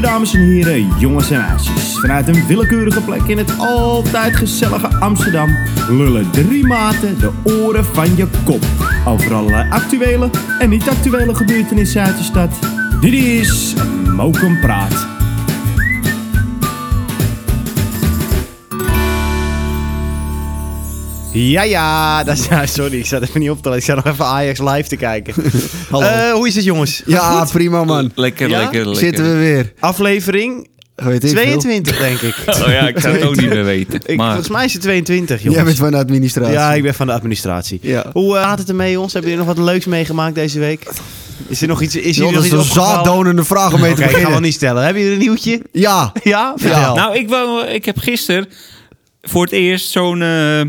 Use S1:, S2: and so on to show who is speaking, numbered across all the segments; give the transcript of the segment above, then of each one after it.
S1: dames en heren, jongens en meisjes. Vanuit een willekeurige plek in het altijd gezellige Amsterdam lullen drie maten de oren van je kop. Over allerlei actuele en niet-actuele gebeurtenissen uit de stad. Dit is Mokum Praat.
S2: Ja, ja, dat is, nou, sorry, ik zat even niet op te letten. Ik zat nog even Ajax live te kijken.
S3: Hallo.
S2: Eh, hoe is het, jongens?
S3: Ja, prima man.
S4: Lekker,
S2: Ja?
S4: lekker, lekker.
S3: Zitten we weer.
S2: Aflevering
S3: Weet ik veel.
S2: 22, denk ik.
S4: Oh ja, ik zou het ook niet meer weten.
S2: ik
S4: maar
S2: Volgens mij is het 22, jongens.
S3: Jij bent van de administratie.
S2: Ja, ik ben van de administratie.
S3: Ja.
S2: Hoe eh, gaat het ermee, jongens? Hebben jullie nog wat leuks meegemaakt deze week? Is er nog iets Is
S3: Joh,
S2: jullie
S3: dat
S2: nog
S3: is
S2: iets
S3: een
S2: opgevallen?
S3: zaaddonende vraag om mee
S2: Oké,
S3: te
S2: ik ga wel
S3: beginnen.
S2: niet stellen. Hebben jullie een nieuwtje?
S3: Ja.
S2: Ja? Vertel.
S4: Nou, ik, wou, ik heb gisteren voor het eerst zo'n eh,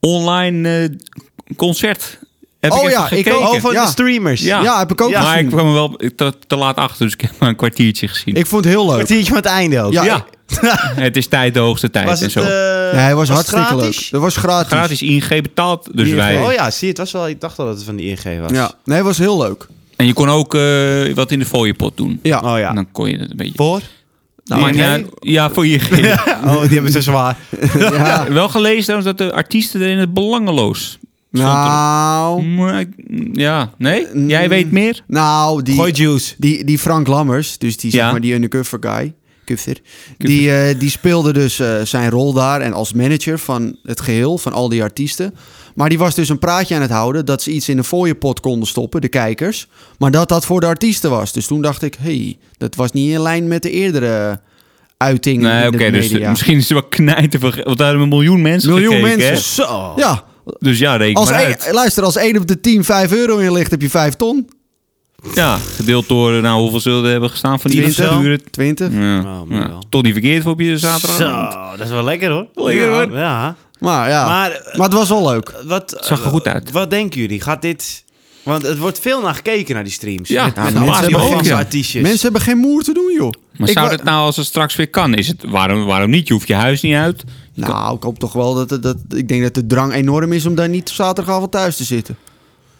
S4: online eh, concert. Heb
S3: Oh
S4: ik even
S3: ja, ik
S4: gekeken.
S3: ook.
S2: oh, van
S3: ja.
S2: de streamers.
S4: Ja.
S3: Ja, heb ik ook
S2: Ja,
S4: maar ik
S3: gezien.
S4: kwam er wel te, te laat achter, dus ik heb maar een kwartiertje gezien.
S3: Ik vond het heel leuk.
S2: Kwartiertje van het einde ook.
S3: Ja.
S4: ja. het is tijd, de hoogste tijd
S2: Was
S4: en
S2: het...
S4: zo.
S2: eh,
S3: Nee, hij was,
S2: het
S3: hartstikke
S2: gratis?
S3: leuk. Dat was gratis.
S4: Gratis ING betaald, dus
S2: ING.
S4: wij.
S2: Oh ja, zie, het was wel... Ik dacht al dat het van de ING was.
S3: Ja. Nee, het was heel leuk.
S4: En je kon ook eh, wat in de fooiepot doen.
S3: Ja. Nou,
S2: Oh ja.
S4: En dan kon je het een beetje.
S2: Voor?
S4: Nou, maakt niet uit. ja, voor ING.
S2: Oh, die hebben ze zwaar.
S3: Ja.
S4: Wel gelezen trouwens dat de artiesten erin het belangeloos.
S3: Nou,
S4: Maar ik- Ja, nee? Jij weet meer?
S3: Mm. nou
S2: Gooi
S3: die,
S2: juice.
S3: die, die Frank Lammers, dus die,
S4: Ja.
S3: zeg maar, die undercover guy, Kufter, die, eh, die speelde dus eh, zijn rol daar en als manager van het geheel, van al die artiesten. Maar die was dus een praatje aan het houden dat ze iets in een fooiepot konden stoppen, de kijkers. Maar dat dat voor de artiesten was. Dus toen dacht ik, hey, dat was niet in lijn met de eerdere uitingen
S4: Nee,
S3: in de
S4: oké, dus
S3: media.
S4: misschien is het wel knijten. van- Want daar hebben een miljoen mensen
S3: Miljoen
S4: gekeken, hè?
S3: mensen.
S2: Zo.
S3: Ja,
S4: Dus ja, reken
S3: als
S4: maar
S3: één-
S4: uit.
S3: luister, als één op de 10 5 euro in ligt, heb je 5 ton.
S4: Ja, gedeeld door, eh, nou, hoeveel zullen er hebben gestaan van die
S3: 20.
S4: uren?
S3: 20.
S4: Ja.
S2: Oh, maar
S4: Ja.
S2: wel.
S4: Toch niet verkeerd op je zaterdag.
S2: Zo, dat is wel lekker hoor.
S4: Lekker,
S2: ja,
S4: hoor.
S2: Ja.
S3: Maar ja,
S2: Maar
S3: maar,
S2: eh,
S3: het was wel leuk.
S2: wat,
S4: Zag er goed uit.
S2: wat denken jullie? Gaat dit... Want het wordt veel naar gekeken naar die streams.
S4: Ja,
S2: met,
S4: ja,
S2: met
S3: mensen
S2: al die
S3: hebben ook,
S2: Hollandse
S4: ja.
S2: artiestjes.
S3: Mensen hebben geen moer te doen, joh.
S4: Maar
S3: Ik
S4: zou
S3: wa-
S4: dat nou, als het straks weer kan, is het... Waarom, waarom niet? Je hoeft je huis niet uit.
S3: Nou, ik hoop toch wel dat, het- dat... Ik denk dat de drang enorm is om daar niet zaterdagavond thuis te zitten.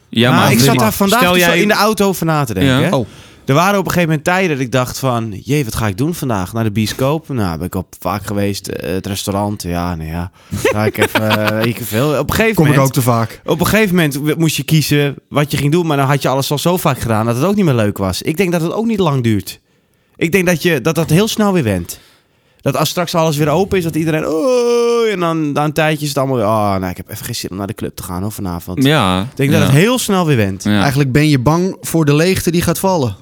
S4: Ja,
S2: maar, Nou, ik zat
S4: maar
S2: daar vandaag
S4: stel
S2: dus
S4: jij-
S2: al in de auto over na te denken.
S4: Ja.
S2: hè.
S3: Oh.
S2: Er waren op een gegeven moment tijden dat ik dacht van... Jee, wat ga ik doen vandaag? Naar de bioscoop? Nou, ben ik op vaak geweest. eh, het restaurant, ja, nou ja. Ga ik even... eh, weet ik veel. Op een gegeven
S3: Kom ik
S2: moment...
S3: ook te vaak.
S2: Op een gegeven moment moest je kiezen wat je ging doen, maar dan had je alles al zo vaak gedaan dat het ook niet meer leuk was. Ik denk dat het ook niet lang duurt. Ik denk dat je, dat, dat heel snel weer went. Dat als straks alles weer open is, dat iedereen. Oh, en dan, dan een tijdje is het allemaal weer. Oh, nou, ik heb even geen zin om naar de club te gaan hoor, vanavond.
S4: Ja.
S2: Ik denk dat het heel snel weer went. Ja.
S4: Ja.
S3: Eigenlijk ben je bang voor de leegte die gaat vallen.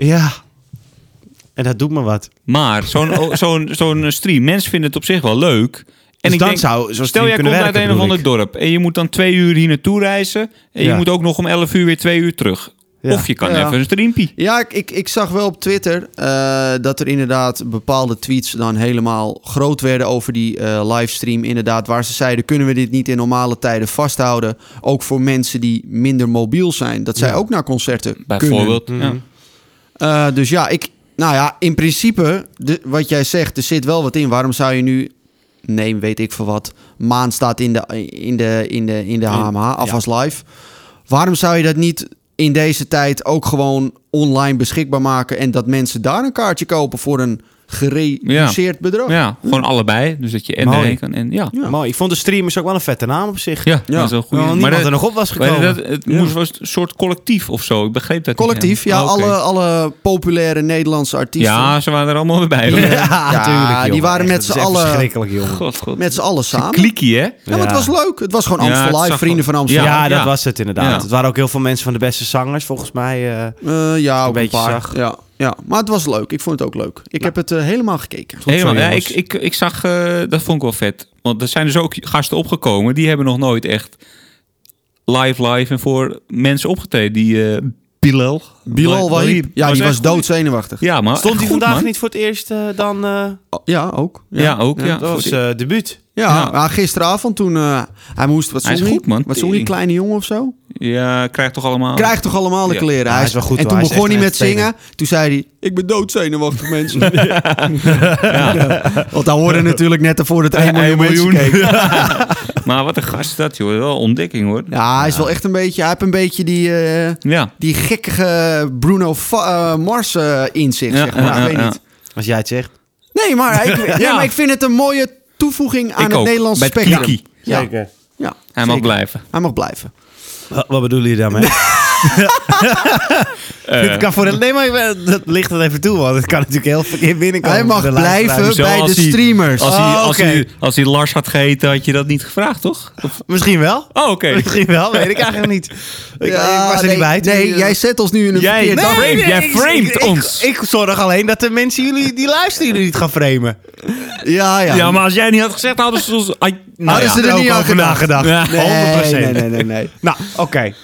S2: En dat doet me wat.
S4: Maar zo'n o- zo'n zo'n stream, mensen vinden het op zich wel leuk. En
S2: Dus
S4: ik
S2: dan
S4: denk,
S2: zou zo'n
S4: stel
S2: stream
S4: jij komt
S2: kunnen
S4: uit
S2: werken,
S4: een of
S2: bedoel
S4: ander dorp en je moet dan twee uur hier naartoe reizen en
S2: Ja.
S4: je moet ook nog om elf uur weer twee uur terug.
S2: Ja.
S4: Of je kan
S3: Ja.
S4: even een streampie.
S3: Ja, ik, ik, ik zag wel op Twitter eh, dat er inderdaad bepaalde tweets dan helemaal groot werden over die eh, livestream. Inderdaad, waar ze zeiden, kunnen we dit niet in normale tijden vasthouden? Ook voor mensen die minder mobiel zijn. Dat zij
S2: Ja.
S3: ook naar concerten kunnen.
S4: Bijvoorbeeld. Ja.
S3: Eh, dus ja, ik, nou ja, in principe, de, wat jij zegt, er zit wel wat in. Waarom zou je nu, nee, weet ik voor wat, Maan staat in de, in de, in de, in de HMH, Afas Live. Waarom zou je dat niet in deze tijd ook gewoon online beschikbaar maken en dat mensen daar een kaartje kopen voor een gereduceerd bedrag?
S4: Ja, gewoon allebei. Dus dat je en
S2: Mhm. Mooi.
S4: daarheen kan en ja.
S2: Ja. Mooi. Ik vond de streamers ook wel een vette naam op zich.
S4: Ja, dat is wel goed.
S2: Wel niemand
S4: dat,
S2: er nog op was gekomen.
S4: maar dat- het moest was een soort collectief of zo. Ik begreep dat. niet
S3: Collectief, ja,
S4: helemaal. Ah, oké.
S3: alle, alle populaire Nederlandse artiesten.
S4: Ja, ze waren er allemaal weer bij.
S3: Ja,
S2: tuurlijk,
S3: die
S2: jongen.
S3: waren
S2: Echt, dat is
S3: met z'n
S2: echt
S3: allen-
S2: Verschrikkelijk, jongen.
S4: God, god.
S3: Met z'n allen samen. Ja,
S4: Klikkie, hè?
S3: maar het
S2: Ja.
S3: was leuk. Het was gewoon
S4: Ja,
S3: Amstel
S4: het
S3: Live,
S4: zag
S3: Vrienden
S4: wel-
S3: van Amsterdam.
S2: Ja,
S4: Ja,
S2: dat
S4: ja.
S2: was het inderdaad.
S4: Ja.
S2: Het waren ook heel veel mensen van de beste zangers, volgens mij. eh.
S3: Eh, ja, ook een
S2: beetje
S3: paar.
S2: zag.
S3: Ja, ja, maar het was leuk. Ik vond het ook leuk. Ik heb het eh, helemaal gekeken.
S4: Helemaal.
S2: zo,
S4: Ja,
S2: jongens.
S4: ik, ik, ik zag, eh, dat vond ik wel vet. Want er zijn dus ook gasten opgekomen, die hebben nog nooit echt live, live en voor mensen opgetreden. Die eh Bilal.
S3: Bilal Wahib. Ja, die was
S4: echt goed.
S3: doodzenuwachtig.
S4: Ja, maar
S2: Stond hij
S4: goed,
S2: vandaag
S4: man.
S2: niet voor het eerst eh, dan... eh,
S3: Oh, Ja, ook.
S4: Ja, ook. Ja,
S2: dat was
S4: Voor die-
S2: eh, debuut.
S3: Ja,
S4: Ja.
S3: maar gisteravond toen... eh, hij moest... Wat
S4: Hij is
S3: zong
S4: goed, man.
S3: Wat zong die?
S4: Tering.
S3: Kleine jongen of zo?
S4: ja, krijgt toch allemaal...
S3: Krijgt toch allemaal de
S4: Ja.
S3: kleren?
S2: hij is wel goed,
S3: En
S2: hoor.
S3: toen
S2: Hij is
S3: begon
S2: echt
S3: hij
S2: een
S3: met zingen. Toen zei hij... Ik ben doodzenuwachtig, mensen. ja. Want daar hoorden natuurlijk net ervoor dat 1 miljoen mensen keken.
S4: maar wat een gast is dat, joh. Wel ontdekking, hoor. Ja.
S3: Ja, hij is wel echt een beetje... Hij heeft een beetje die... eh, die gekkige Bruno Fa- eh, Mars eh, in zich,
S4: Ja,
S3: zeg maar.
S4: ja,
S3: ik weet
S4: ja,
S3: niet.
S2: Als jij het zegt.
S3: Nee, maar ik, nee,
S4: Ja.
S3: maar ik vind het een mooie toevoeging aan
S4: Ik
S3: het
S4: ook,
S3: Nederlandse
S4: bij
S3: spectrum.
S4: Kiki.
S3: Ja.
S2: Zeker.
S3: Ja,
S4: Hij mag
S3: zeker.
S4: blijven.
S3: Hij mag blijven.
S2: Wat, wat bedoelen jullie daarmee? Dit kan voor de, nee, maar ik ben- dat ligt het even toe, want het kan natuurlijk heel verkeerd binnenkomen.
S3: Hij mag
S2: De luisteraar.
S3: blijven.
S4: Zo,
S3: bij
S4: als
S3: de
S4: hij-
S3: streamers.
S4: Als hij,
S2: Ah,
S4: als,
S2: oké.
S4: hij, als hij Lars had gegeten, had je dat niet gevraagd, toch? Of-
S2: Misschien wel.
S4: Oh, oké.
S2: Misschien wel, weet ik eigenlijk niet. Ik,
S3: Ja,
S2: ik was er
S3: nee,
S2: niet bij. toen
S3: Nee,
S2: jullie-
S3: jij zet ons nu in een
S4: Jij-
S3: verkeerd
S4: Nee,
S3: daglicht.
S4: Frame, jij
S2: ik-
S4: framet
S2: ik- ik-
S4: ons.
S2: Ik, zorg alleen dat de mensen jullie die luisteren jullie niet gaan framen.
S3: Ja, ja.
S4: Ja, maar als jij niet had gezegd, hadden ze ons... Ai, nou
S3: Hadden
S4: ja.
S3: ze er
S2: ook
S3: niet aan
S2: over
S3: gedacht.
S2: nagedacht.
S4: Ja.
S3: Nee,
S2: 100%.
S3: nee, nee, nee, nee.
S2: Nou, oké.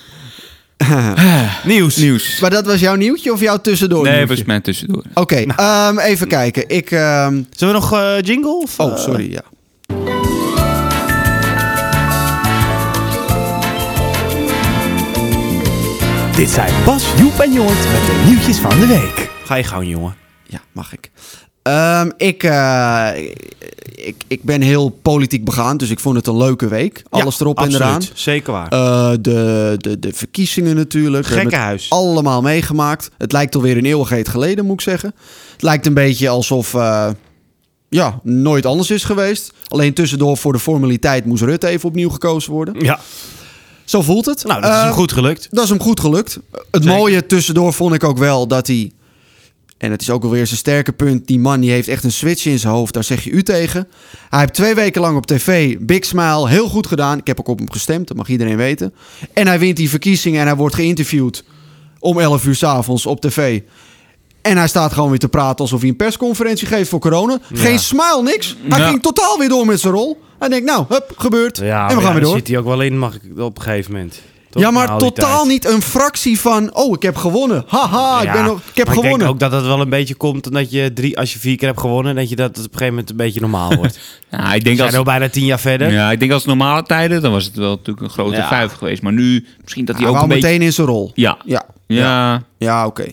S2: Nieuws.
S4: Nieuws.
S3: Maar dat was jouw nieuwtje of jouw tussendoor
S4: Nee,
S3: nieuwtje?
S4: was mij tussendoor.
S3: Oké,
S2: Nou.
S3: ehm, even kijken. Ik, ehm,
S2: Zullen we nog eh, jingle? Of,
S3: Oh,
S2: eh,
S3: sorry, ja.
S2: Dit zijn Bas, Joep en Jort met de nieuwtjes van de week. Ga je gang, jongen.
S3: Ja, mag ik. Ehm, ik, eh, ik, ik ben heel politiek begaan, dus ik vond het een leuke week. Alles
S2: Ja,
S3: erop
S2: absoluut.
S3: en eraan.
S2: Zeker waar.
S3: Eh, de, de, de verkiezingen natuurlijk. We hebben het
S2: Gekkenhuis.
S3: Allemaal meegemaakt. Het lijkt alweer een eeuwigheid geleden, moet ik zeggen. Het lijkt een beetje alsof eh, ja, nooit anders is geweest. Alleen tussendoor voor de formaliteit moest Rutte even opnieuw gekozen worden.
S2: ja.
S3: Zo voelt het.
S2: Nou, dat is hem
S3: Eh,
S2: goed gelukt.
S3: dat is hem goed gelukt. Het
S2: Zeker.
S3: mooie tussendoor vond ik ook wel dat hij. En het is ook alweer zijn sterke punt. Die man die heeft echt een switch in zijn hoofd. Daar zeg je u tegen. Hij heeft twee weken lang op tv Big Smile heel goed gedaan. Ik heb ook op hem gestemd, dat mag iedereen weten. En hij wint die verkiezingen en hij wordt geïnterviewd om 11 uur s'avonds op tv. En hij staat gewoon weer te praten alsof hij een persconferentie geeft voor corona. Geen smile, niks. Hij
S4: Ja.
S3: ging totaal weer door met zijn rol. Hij denkt, nou, hup, gebeurd. en we gaan weer door.
S2: zit hij ook wel in, mag ik op een gegeven moment.
S3: Ja, maar totaal niet een fractie van. Oh, ik heb gewonnen. Haha, ik, ben nog, ik heb
S2: maar Ik
S3: gewonnen.
S2: denk ook dat het wel een beetje komt omdat je drie, als je vier keer hebt gewonnen, dat je dat op een gegeven moment een beetje normaal wordt. We
S4: Ja, ik denk
S2: zijn al
S4: als...
S2: bijna tien jaar verder.
S4: Ja, ik denk als normale tijden, dan was het wel natuurlijk een grote
S2: Ja.
S4: vijf geweest. Maar nu, misschien dat hij
S3: Hij
S4: ook
S3: wou
S4: een beetje...
S3: meteen in zijn rol.
S4: Ja.
S3: Ja,
S4: Ja.
S3: ja oké.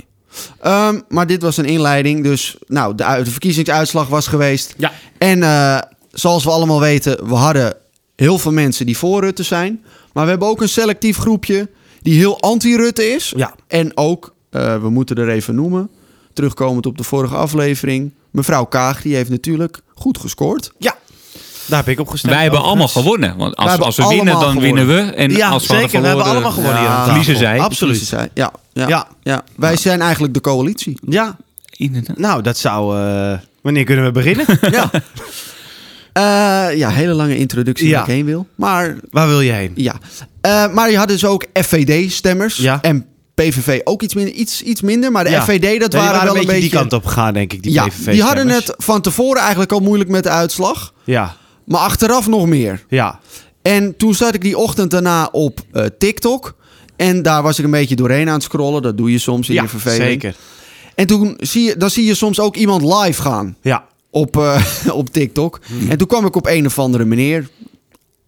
S3: Ehm, maar dit was een inleiding. Dus nou, de, u- de verkiezingsuitslag was geweest.
S2: Ja.
S3: En eh, zoals we allemaal weten, we hadden heel veel mensen die voor Rutte zijn. Maar we hebben ook een selectief groepje die heel anti-Rutte is.
S2: Ja.
S3: En ook, eh, we moeten er even noemen, terugkomend op de vorige aflevering. Mevrouw Kaag, die heeft natuurlijk goed gescoord.
S2: Ja. daar heb ik op gestemd.
S4: Wij hebben allemaal
S2: overigens.
S4: gewonnen. Want
S3: Wij
S4: als,
S3: hebben
S4: als we winnen,
S3: allemaal
S4: dan
S3: gewonnen.
S4: winnen we. En
S2: Ja,
S4: als we hadden
S2: zeker. We hebben
S4: verloren,
S2: allemaal gewonnen
S3: Ja.
S2: hier aan tafel.
S4: verliezen zij.
S2: Absoluut.
S3: Zij- Ja, ja, ja.
S2: Ja.
S3: wij zijn eigenlijk de coalitie.
S2: Ja,
S4: Inderdaad.
S2: nou, dat zou... eh, wanneer kunnen we beginnen?
S3: ja. Eh, ja, hele lange introductie
S2: Ja.
S3: waar ik heen wil. Maar
S2: Waar wil je heen?
S3: ja. Eh, maar je had dus ook FVD-stemmers.
S2: Ja.
S3: En PVV ook iets minder, iets, iets minder. Maar de
S2: Ja.
S3: FVD,
S2: Nee,
S3: dat
S2: die
S3: waren, wel
S2: een beetje die kant op gegaan, denk ik, die
S3: ja,
S2: PVV
S3: die hadden
S2: stemmers.
S3: het van tevoren eigenlijk al moeilijk met de uitslag.
S2: Ja,
S3: Maar achteraf nog meer.
S2: ja.
S3: En toen zat ik die ochtend daarna op eh, TikTok. En daar was ik een beetje doorheen aan het scrollen. Dat doe je soms in
S2: ja
S3: je verveling.
S2: zeker.
S3: En toen zie je, dan zie je soms ook iemand live gaan
S2: Ja,
S3: op, eh, op TikTok. En toen kwam ik op een of andere meneer,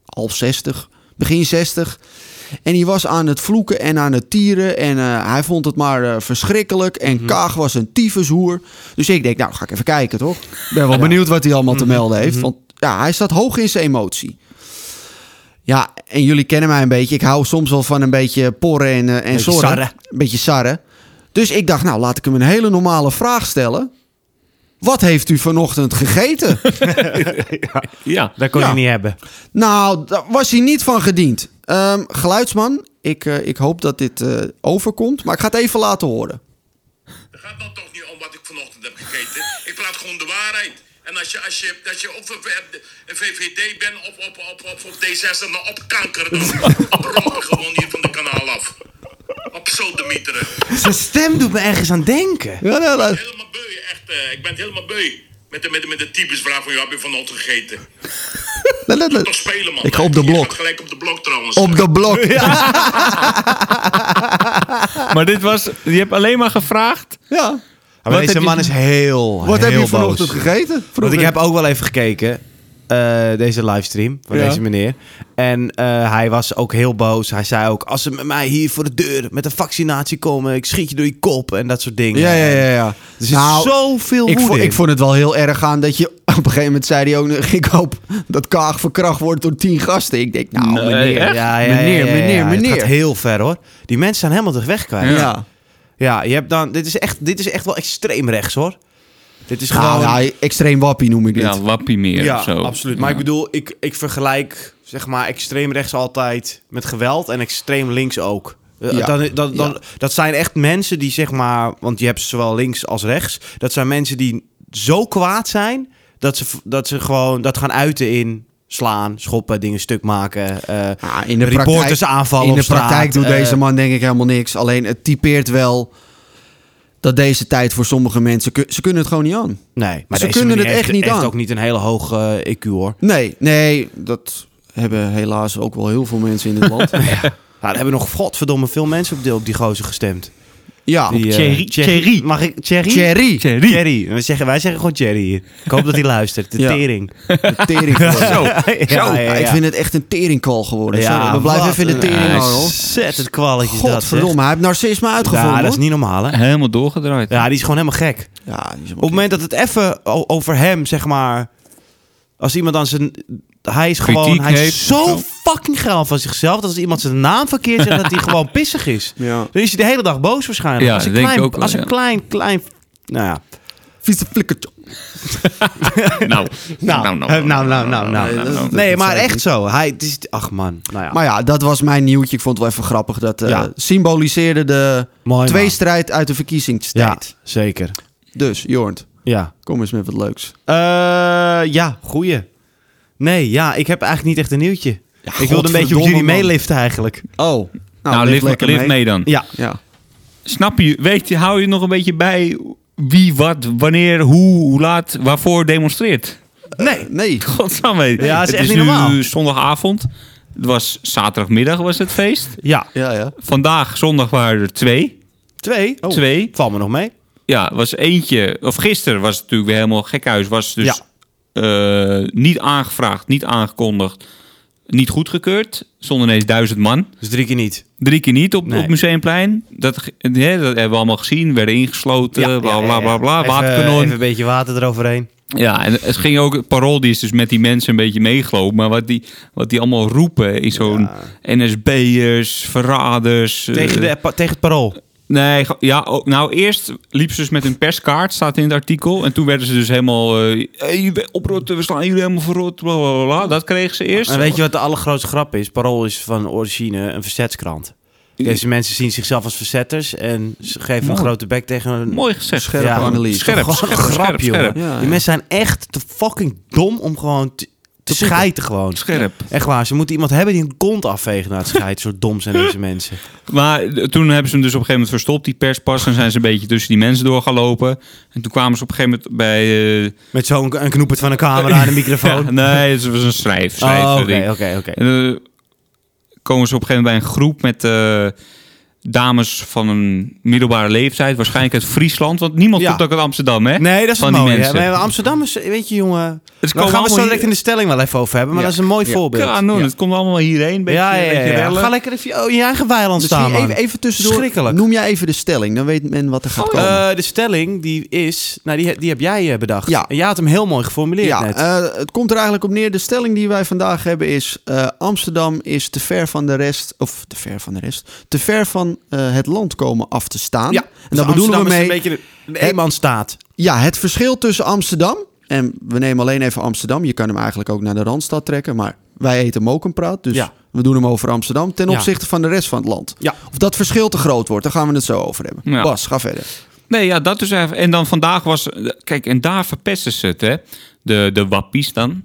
S3: half 60, begin 60. En die was aan het vloeken en aan het tieren. En eh, hij vond het maar eh, verschrikkelijk. En Kaag was een tyfushoer. Dus ik denk, nou ga ik even kijken toch? Ik ben wel benieuwd wat hij allemaal te melden heeft. Want Mhm. ja, hij staat hoog in zijn emotie. Ja, en jullie kennen mij een beetje. Ik hou soms wel van een beetje porren en, eh, en
S2: Beetje
S3: zorren.
S2: sarren.
S3: Een beetje sarren. Dus ik dacht, nou laat ik hem een hele normale vraag stellen. Wat heeft u vanochtend gegeten?
S4: Ja.
S2: dat kon
S3: Ja.
S2: je niet hebben.
S3: nou, daar was hij niet van gediend. Ehm, geluidsman, ik, eh, ik hoop dat dit eh, overkomt, maar ik ga het even laten horen.
S5: Het gaat dan toch niet om wat ik vanochtend heb gegeten. Ik praat gewoon de waarheid. En als je, als je, als je of een V- een VVD bent of op, op, op, op D6 en dan op kanker, dan rok je gewoon hier van de kanaal af. Op sodemieteren.
S2: Zijn stem doet me ergens aan denken.
S3: Ja, nou, laat-
S5: Helemaal beu, echt. eh, ik ben het helemaal beu. Met de, met de, met de typusvraag van, ja, heb je vanochtend gegeten?
S3: laat- laat-
S5: Toch spelen, man.
S3: Ik ga op de
S5: Je
S3: blok.
S5: gaat gelijk op de blok, trouwens.
S3: op de blok. Ja,
S4: Maar dit was... Je hebt alleen maar gevraagd...
S3: ja.
S2: Maar
S4: Wat
S2: deze
S4: heb je-
S2: man is heel,
S3: Wat heb
S2: heel
S3: je vanochtend
S2: boos.
S3: gegeten?
S2: Want
S3: Vroeg
S2: ik heb ook wel even gekeken, eh, deze livestream van
S3: Ja.
S2: deze meneer. En eh, hij was ook heel boos. Hij zei ook, als ze met mij hier voor de deur met een vaccinatie komen, ik schiet je door je kop en dat soort dingen.
S3: Ja, ja, ja. ja. Nou,
S2: Er zit zoveel
S3: ik
S2: woede
S3: vond,
S2: in.
S3: ik vond het wel heel erg aan dat je... Op een gegeven moment zei hij ook... nog, Ik hoop dat Kaag verkracht wordt door tien gasten. Ik denk, nou
S4: Nee,
S3: meneer,
S4: echt?
S2: Ja, ja, ja,
S3: meneer,
S2: ja, ja,
S3: meneer,
S2: ja. Het
S3: meneer.
S2: gaat heel ver hoor. Die mensen zijn helemaal de weg kwijt.
S3: ja.
S2: Ja, je hebt dan, dit, is echt, dit is echt wel extreem rechts hoor. Dit is gewoon...
S3: Nou, ja, extreem wappie noem ik dit.
S4: Ja, wappie meer
S2: ja,
S4: of zo.
S2: absoluut. Maar ik bedoel, ik, ik vergelijk zeg maar extreem rechts altijd met geweld en extreem links ook. Eh,
S3: Ja.
S2: Dan, dan, dan,
S3: Ja.
S2: Dat zijn echt mensen die zeg maar, want je hebt zowel links als rechts. Dat zijn mensen die zo kwaad zijn dat ze, v- dat ze gewoon dat gaan uiten in slaan, schoppen, dingen stuk maken. eh
S3: Ja, Ah, in de
S2: reporters
S3: praktijk,
S2: aanvallen
S3: In de
S2: op straat,
S3: praktijk doet
S2: eh,
S3: deze man denk ik helemaal niks. Alleen het typeert wel dat deze tijd voor sommige mensen... kun- Ze kunnen het gewoon niet aan.
S2: Nee, maar
S3: Ze
S2: deze
S3: kunnen
S2: meneer
S3: het
S2: heeft-
S3: echt niet
S2: heeft
S3: aan.
S2: ook niet een hele hoge eh, IQ hoor.
S3: Nee, nee, dat hebben helaas ook wel heel veel mensen in dit land.
S2: Nou, er hebben nog godverdomme veel mensen op, die, op die gozer gestemd.
S3: ja,
S2: Die, eh,
S4: Thierry- Thierry.
S2: Mag ik Thierry?
S3: Thierry.
S4: Thierry.
S2: Thierry. We zeggen, wij zeggen gewoon Thierry hier. Ik hoop dat hij luistert. De
S3: Ja.
S2: tering.
S3: De tering.
S2: Zo.
S3: Ja,
S2: Ja, ja,
S3: ja, Ik
S2: ja.
S3: vind het echt een teringkal geworden.
S2: Ja,
S3: Sorry, we blijven
S2: wat
S3: even in de
S2: een
S3: tering
S4: ijs.
S3: hoor.
S2: Ontzettend kwalletjes dat, zeg.
S3: Godverdomme, hij heeft narcisme uitgevonden.
S2: Ja, dat is
S3: hoor.
S2: niet normaal, hè?
S4: Helemaal doorgedraaid.
S2: Ja, die is gewoon helemaal gek.
S3: Ja, die is
S2: Op het moment dat het even o- over hem, zeg maar... Als iemand dan zijn... Hij is gewoon...
S4: Kritiek
S2: hij is
S4: heeft
S2: zo
S4: of
S2: fucking geil van zichzelf... dat als iemand zijn naam verkeerd zegt... dat hij gewoon pissig is.
S3: Ja.
S2: Dan is hij de hele dag boos waarschijnlijk.
S4: Ja,
S2: als een
S4: dat denk ik
S2: klein,
S4: ook wel,
S2: als een
S4: ja.
S2: klein, klein... Nou ja.
S3: Vieze flikkertje.
S4: Nou, nou, nou,
S2: nou, nou, nou, nou.
S3: Nee, dat- dat-
S2: Nee,
S3: dat
S2: maar
S3: zou ik
S2: echt
S3: niet.
S2: zo. Hij, het is, ach man. Nou ja.
S3: Maar ja, dat was mijn nieuwtje. Ik vond het wel even grappig. Dat eh,
S2: Ja.
S3: symboliseerde de
S2: Mooi, man.
S3: tweestrijd uit de verkiezingstijd.
S2: ja, zeker.
S3: Dus, Jornt,
S2: Ja.
S3: kom eens met wat leuks.
S2: Eh, ja, goeie. Nee, ja, ik heb eigenlijk niet echt een nieuwtje. ik wilde een beetje op
S3: godverdomme,
S2: jullie
S3: man.
S2: meeliften eigenlijk.
S3: Oh, nou,
S4: Nou,
S3: lift
S4: lift,
S3: lekker
S4: lift mee. dan.
S2: Ja.
S3: Ja.
S4: Snap je, weet je, hou je nog een beetje bij wie, wat, wanneer, hoe, hoe laat, waarvoor demonstreert?
S2: Nee.
S3: Nee.
S4: Godsamme.
S2: Ja, het is
S4: het
S2: echt
S4: is
S2: niet
S4: nu
S2: normaal.
S4: zondagavond. Het was zaterdagmiddag was het feest.
S2: Ja.
S3: Ja, ja.
S4: Vandaag, zondag, waren er twee.
S2: Twee. Oh.
S4: Twee.
S2: Val me nog mee.
S4: Ja, was eentje. Of gisteren was het natuurlijk weer helemaal gekhuis. Was dus eh, niet aangevraagd, niet aangekondigd, niet goedgekeurd. Zonder ineens duizend man.
S2: Dus drie keer niet.
S4: Drie keer niet op,
S2: Nee.
S4: op Museumplein. Dat, ge- hè, dat hebben we allemaal gezien. Werden ingesloten, Eh, bla bla bla bla.
S2: Even,
S4: waterkanon.
S2: Even een beetje water eroverheen.
S4: Ja, en het ging ook, het parool die is dus met die mensen een beetje meegelopen. Maar wat die, wat die allemaal roepen is zo'n NSB'ers, verraders. eh,
S2: Tegen, de, pa- tegen het parool.
S4: Nee, ge- ja, ook- nou eerst liep ze dus met een perskaart, staat in het artikel. En toen werden ze dus helemaal, eh hey, oprotten, we slaan jullie helemaal verrot, bla bla bla. Dat kregen ze eerst.
S2: En weet je wat de allergrootste grap is? Parool is van origine een verzetskrant. Deze mensen zien zichzelf als verzetters en ze geven een grote bek tegen een
S4: Mooi gezegd.
S3: Scherpe
S2: Ja,
S3: analyse.
S4: scherp,
S2: Gewoon
S4: scherp,
S2: een grap,
S4: scherp,
S2: jongen.
S4: scherp.
S3: Ja, ja.
S2: Die mensen zijn echt te fucking dom om gewoon te, te schijten gewoon.
S4: Scherp.
S2: Echt waar, ze moeten iemand hebben die een kont afvegen na het schijten. Zo dom zijn deze mensen.
S4: Maar eh, toen hebben ze hem dus op een gegeven moment verstopt, die perspas. En zijn ze een beetje tussen die mensen door gaan lopen. En toen kwamen ze op een gegeven moment bij... eh,
S2: Met zo'n k- een knoepert van een camera en een microfoon.
S4: Ja, nee, het was een schrijf. schrijf-
S2: Oh,
S4: ding.
S2: Oké, oké, oké.
S4: En dan komen ze op een gegeven moment bij een groep met eh, dames van een middelbare leeftijd. Waarschijnlijk uit Friesland, want niemand
S2: Ja.
S4: komt ook uit Amsterdam, hè?
S2: Nee, dat is
S4: van
S2: wel mooi.
S4: die
S2: hè.
S4: mensen.
S2: Maar Amsterdam is, weet je jongen...
S4: Het
S2: Daar
S4: komen
S2: gaan we zo
S4: allemaal
S2: direct in
S4: hier-
S2: de stelling wel even over hebben. Maar
S3: Ja.
S2: dat is een mooi
S3: Ja.
S2: voorbeeld.
S4: Ja, nou, het komt allemaal hierheen. Beetje,
S2: ja, ja, ja,
S4: beetje
S2: ja.
S4: rellen.
S2: Ga lekker even in je eigen weiland staan,
S3: Misschien
S2: man.
S3: even, even tussendoor.
S2: Schrikkelijk.
S3: Noem jij even de stelling, dan weet men wat er gaat komen.
S2: Eh, de stelling die is... Nou, die, die heb jij eh, bedacht.
S3: Ja.
S2: En jij had hem heel mooi geformuleerd
S3: ja,
S2: net.
S3: eh, het komt er eigenlijk op neer. De stelling die wij vandaag hebben is... eh, Amsterdam is te ver van de rest... Of te ver van de rest... Te ver van eh, het land komen af te staan.
S2: ja. Dus
S3: en daar bedoelen we mee...
S2: een beetje een eenmansstaat.
S3: Ja, het verschil tussen Amsterdam... En we nemen alleen even Amsterdam. Je kan hem eigenlijk ook naar de Randstad trekken. Maar wij eten hem ook een praat. Dus
S2: Ja.
S3: we doen hem over Amsterdam. Ten
S2: Ja.
S3: opzichte van de rest van het land.
S2: Ja.
S3: Of dat verschil te groot wordt. Daar gaan we het zo over hebben.
S4: Ja.
S3: Bas, ga verder.
S4: Nee, ja, dat dus even. En dan vandaag was... Kijk, en daar verpesten ze het, hè. De, de wappies dan.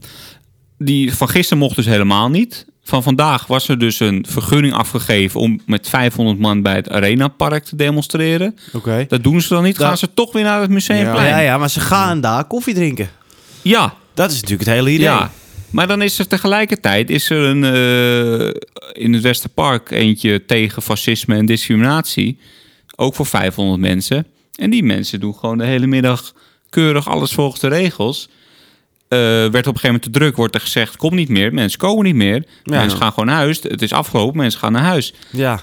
S4: Die van gisteren mocht dus helemaal niet. Van vandaag was er dus een vergunning afgegeven... om met 500 man bij het Arenapark te demonstreren.
S2: Oké.
S4: Dat doen ze dan niet. Gaan ze toch weer naar het museumplein?
S2: Ja,
S4: Ja, ja.
S2: ja, maar ze gaan daar koffie drinken.
S4: ja,
S2: Dat is natuurlijk het hele idee.
S4: Maar dan is er tegelijkertijd is er een, eh, in het Westerpark eentje tegen fascisme en discriminatie. Ook voor 500 mensen. En die mensen doen gewoon de hele middag keurig alles volgens de regels. Eh, werd op een gegeven moment te druk, wordt er gezegd: kom niet meer. Mensen komen niet meer. Mensen gaan gewoon naar huis. Het is afgelopen, mensen gaan naar huis.
S2: Ja.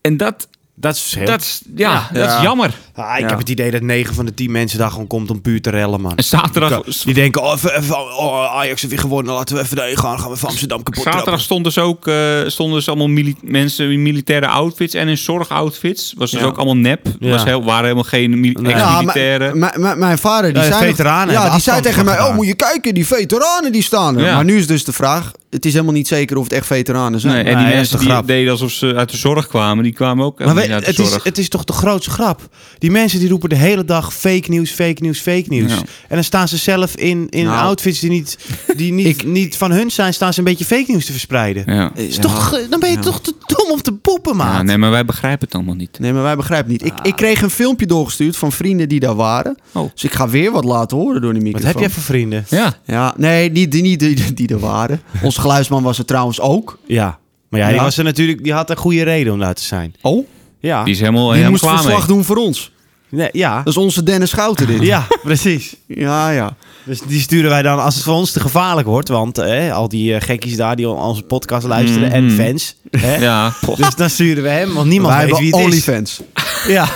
S4: En dat
S2: Dat is verschil.
S4: Dat is, ja, dat is jammer.
S2: Ah, ik
S3: Ja.
S2: heb het idee dat 9 van de 10 mensen daar gewoon komt om puur te rellen, man.
S4: En zaterdag,
S2: Die denken, oh, even, even, oh, Ajax heeft weer gewonnen, laten we even daarheen gaan. Gaan we van Amsterdam kapot
S4: zaterdag
S2: trappen.
S4: stond dus ook, eh, stonden dus allemaal mili- mensen in militaire outfits en in zorgoutfits. Was dus
S2: Ja.
S4: ook allemaal nep.
S2: Ja.
S4: Was heel, waren helemaal geen mili-
S2: Nee.
S3: Ja,
S4: ex-militairen.
S3: Nou, mijn- mijn- mijn- mijn vader, die
S2: Ja, de
S3: zei...
S2: Eh, veteranen
S3: ja,
S2: hebben
S3: die zei
S2: afstand
S3: tegen mij, oh,
S2: gedaan.
S3: moet je kijken, die veteranen die staan er.
S4: Ja.
S3: Maar nu is dus de vraag, het is helemaal niet zeker of het echt veteranen zijn.
S4: nee, en
S2: Nee,
S4: die
S2: dat is
S4: mensen
S2: de
S4: die
S2: grap.
S4: deden alsof ze uit de zorg kwamen, die kwamen
S2: Maar
S4: ook helemaal
S2: weet-
S4: niet uit
S2: het,
S4: de
S2: is,
S4: zorg.
S2: het is toch de grootste grap? Die mensen die roepen de hele dag fake nieuws, fake nieuws, fake nieuws.
S4: Ja.
S2: En dan staan ze zelf in, in
S3: Nou.
S2: outfits die, niet, die niet, niet van hun zijn, staan ze een beetje fake nieuws te verspreiden.
S4: ja.
S2: Is toch, eh, dan ben je toch te dom om te poppen, maat.
S4: Ja, nee, maar wij begrijpen het allemaal niet.
S3: Nee, maar wij begrijpen het niet. Ik,
S2: Ah.
S3: ik kreeg een filmpje doorgestuurd van vrienden die daar waren.
S4: Oh.
S3: Dus ik ga weer wat laten horen door die
S2: Wat
S3: microfoon.
S2: heb jij voor vrienden?
S4: Ja,
S3: Ja, nee, niet die, niet die, die er waren. Onze geluidsman was er trouwens ook.
S2: Ja. Maar ja, die,
S3: Ja.
S2: was er natuurlijk, die had een goede reden om daar te zijn.
S3: Oh?
S2: Ja.
S4: die is helemaal,
S3: Die
S4: helemaal
S3: moest
S4: klaar mee.
S3: verslag doen voor ons.
S2: Nee, ja.
S3: Dat is onze Dennis Schouten dit.
S2: ja, precies.
S3: ja. ja.
S2: Dus die sturen wij dan als het voor ons te gevaarlijk wordt. Want eh, al die eh, gekkies daar die al- onze podcast luisteren en
S4: Mhm.
S2: fans. Hè?
S4: Ja, poch.
S2: Dus dan sturen we hem, want niemand
S3: Wij
S2: weet wie
S3: hebben
S2: het is.
S3: OnlyFans.
S2: Ja.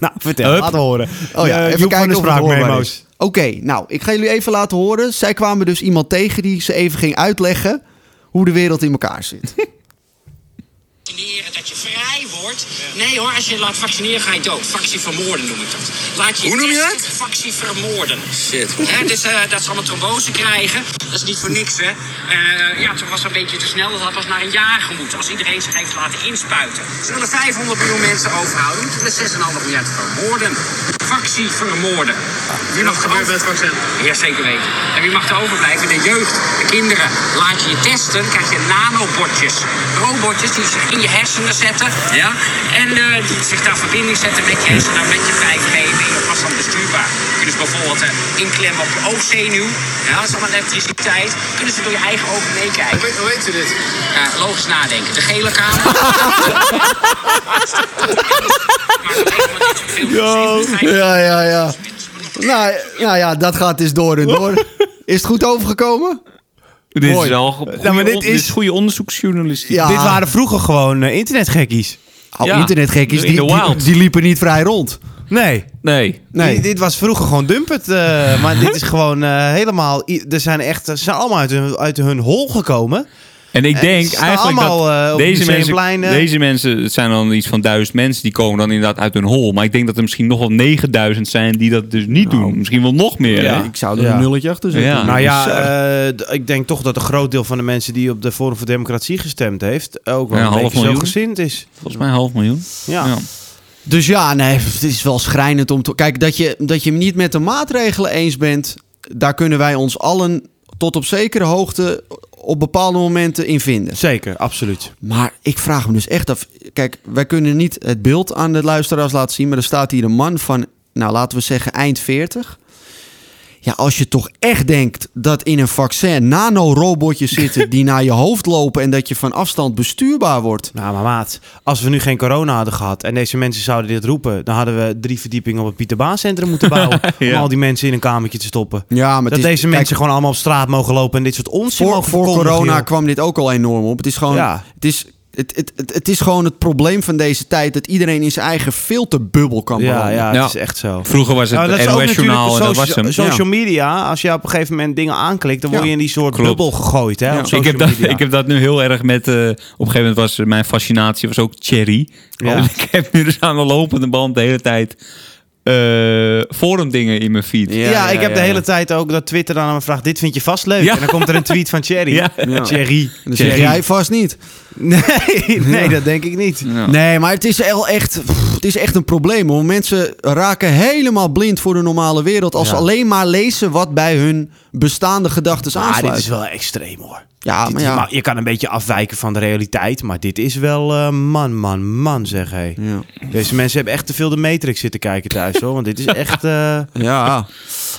S2: nou, vertel,
S4: Hup.
S2: laat horen.
S3: Oh ja,
S2: Eh,
S3: even
S2: Joep van
S3: kijken
S2: de
S3: of het hoorbaar
S2: Spraakmemo's.
S3: is. Oké, nou, ik ga jullie even laten horen. Zij kwamen dus iemand tegen die ze even ging uitleggen hoe de wereld in elkaar zit.
S6: vaccineren, dat je vrij wordt. Nee hoor, als je laat vaccineren ga je dood. Vaccin vermoorden noem ik dat. Laat je
S5: Hoe noem je
S6: testen,
S5: dat?
S6: Vaccin vermoorden.
S5: Shit.
S6: Hè, dus eh, dat ze allemaal trombose krijgen, dat is niet voor niks hè. Eh, ja, toen was dat een beetje te snel, dat had pas na een jaar gemoeten. Als iedereen zich heeft laten inspuiten. Ze willen 500 miljoen mensen overhouden, moeten we 6,5 miljard vermoorden. Vaccin vermoorden. Nu nog gebeurt met het vaccin. Ja, zeker weten. En wie mag er overblijven? De jeugd, de kinderen. Laat je je testen, krijg je nanobotjes. Robotjes die zich in je hersenen zetten. Ja. En eh, die zich daar verbinding zetten met je hersenen, met je 5G. Ben je pas dan bestuurbaar. Kunnen ze bijvoorbeeld eh, inklemmen op OC nu. Ja, dat is allemaal elektriciteit. Kunnen ze door je eigen ogen meekijken.
S5: Hoe weet je dit?
S6: Ja, logisch nadenken. De gele kamer. Yo.
S3: Ja, ja, ja. Nou, nou ja, dat gaat dus door en door. Is het goed overgekomen?
S4: Dit
S2: Mooi.
S4: is al goede,
S2: Nou, maar dit
S4: on- dit
S2: is-
S4: is goede onderzoeksjournalistiek.
S3: Ja.
S2: Dit waren vroeger gewoon eh, internetgekkies.
S3: Oh,
S4: Ja.
S3: internetgekkies,
S4: In
S3: die,
S4: the
S3: die,
S4: wild.
S3: die liepen niet vrij rond.
S2: Nee.
S4: Nee.
S3: Nee.
S2: Dit, dit was vroeger gewoon dumpet. eh, maar dit is gewoon eh, helemaal... i- Er zijn echt... Ze zijn allemaal uit hun, uit hun hol gekomen.
S4: En ik
S2: Eh,
S4: denk
S2: ze staan
S4: eigenlijk
S2: allemaal, eh,
S4: dat
S2: op
S4: deze
S2: Museumplein,
S4: mensen,
S2: eh.
S4: deze mensen, het zijn dan iets van duizend mensen, die komen dan inderdaad uit hun hol. Maar ik denk dat er misschien nog wel 9000 zijn die dat dus niet doen. Misschien wel nog meer. hè?
S3: Nou. Ik zou er
S2: Ja.
S3: een nulletje achter zetten.
S4: Ja. Dus
S2: Nou ja,
S4: bizar.
S2: eh, d- ik denk toch dat een groot deel van de mensen die op de Forum voor Democratie gestemd heeft, ook wel
S4: Ja,
S2: een
S4: half
S2: beetje zo
S4: miljoen.
S2: gezind is.
S4: Volgens mij een half miljoen.
S2: Ja.
S3: Dus ja, nee, het is wel schrijnend om te... Kijk, dat je, dat je hem niet met de maatregelen eens bent... daar kunnen wij ons allen tot op zekere hoogte... op bepaalde momenten in vinden.
S2: Zeker, absoluut.
S3: Maar ik vraag me dus echt af... Kijk, wij kunnen niet het beeld aan de luisteraars laten zien... maar er staat hier een man van, nou laten we zeggen, eind 40... Ja, als je toch echt denkt dat in een vaccin nanorobotjes zitten die naar je hoofd lopen en dat je van afstand bestuurbaar wordt.
S2: Nou, maar maat, als we nu geen corona hadden gehad en deze mensen zouden dit roepen, dan hadden we drie verdiepingen op het Pieter Baan Centrum moeten bouwen
S4: Ja.
S2: om al die mensen in een kamertje te stoppen.
S3: Ja, maar het
S2: dat
S3: is-
S2: deze
S3: kijk,
S2: mensen gewoon allemaal op straat mogen lopen en dit soort onzin
S3: voor,
S2: mogen
S3: voor
S2: verkondigen,
S3: corona
S2: joh.
S3: kwam dit ook al enorm op. Het is gewoon.
S2: Ja.
S3: Het is, het, het, het, het is gewoon het probleem van deze tijd dat iedereen in zijn eigen filterbubbel kan
S2: Ja,
S3: belanden.
S2: ja,
S4: Ja.
S2: het is echt zo.
S4: Vroeger was het
S2: Nou, dat is
S4: het
S2: ook natuurlijk
S4: NOS-journaal en dat
S2: socia-
S4: was hem.
S2: social media. Als je op een gegeven moment dingen aanklikt, dan word je
S3: Ja.
S2: in die soort
S4: Klopt.
S2: bubbel gegooid. Hè, op
S4: Ik,
S2: social
S4: heb dat,
S2: media.
S4: ik heb dat nu heel erg met... eh, op een gegeven moment was eh, mijn fascinatie was ook Thierry.
S2: Ja.
S4: En ik heb nu dus aan de lopende band de hele tijd eh forum dingen in mijn feed.
S2: Ja,
S3: Ja, ja,
S2: ik heb de
S4: ja.
S2: hele tijd ook dat Twitter dan aan me vraagt: dit vind je vast leuk.
S4: Ja.
S2: En dan komt er een tweet van Thierry.
S4: Ja.
S3: Ja.
S2: Thierry.
S3: En dan zeg
S4: Thierry.
S3: jij vast niet.
S2: Nee, nee dat denk ik niet.
S3: Nee, maar het is wel echt, pff, het is echt een probleem. Hoor. Mensen raken helemaal blind voor de normale wereld als
S2: Ja.
S3: ze alleen maar lezen wat bij hun bestaande gedachten
S2: Maar Nou, dit
S3: aansluit.
S2: is wel extreem hoor.
S3: Ja,
S2: Dit
S3: maar
S2: is-
S3: ja.
S2: je kan een beetje afwijken van de realiteit, maar dit is wel eh, man, man, man, zeg hé.
S3: Ja.
S2: Deze mensen hebben echt te veel de Matrix zitten kijken thuis hoor, want dit is echt... eh,
S3: Ja.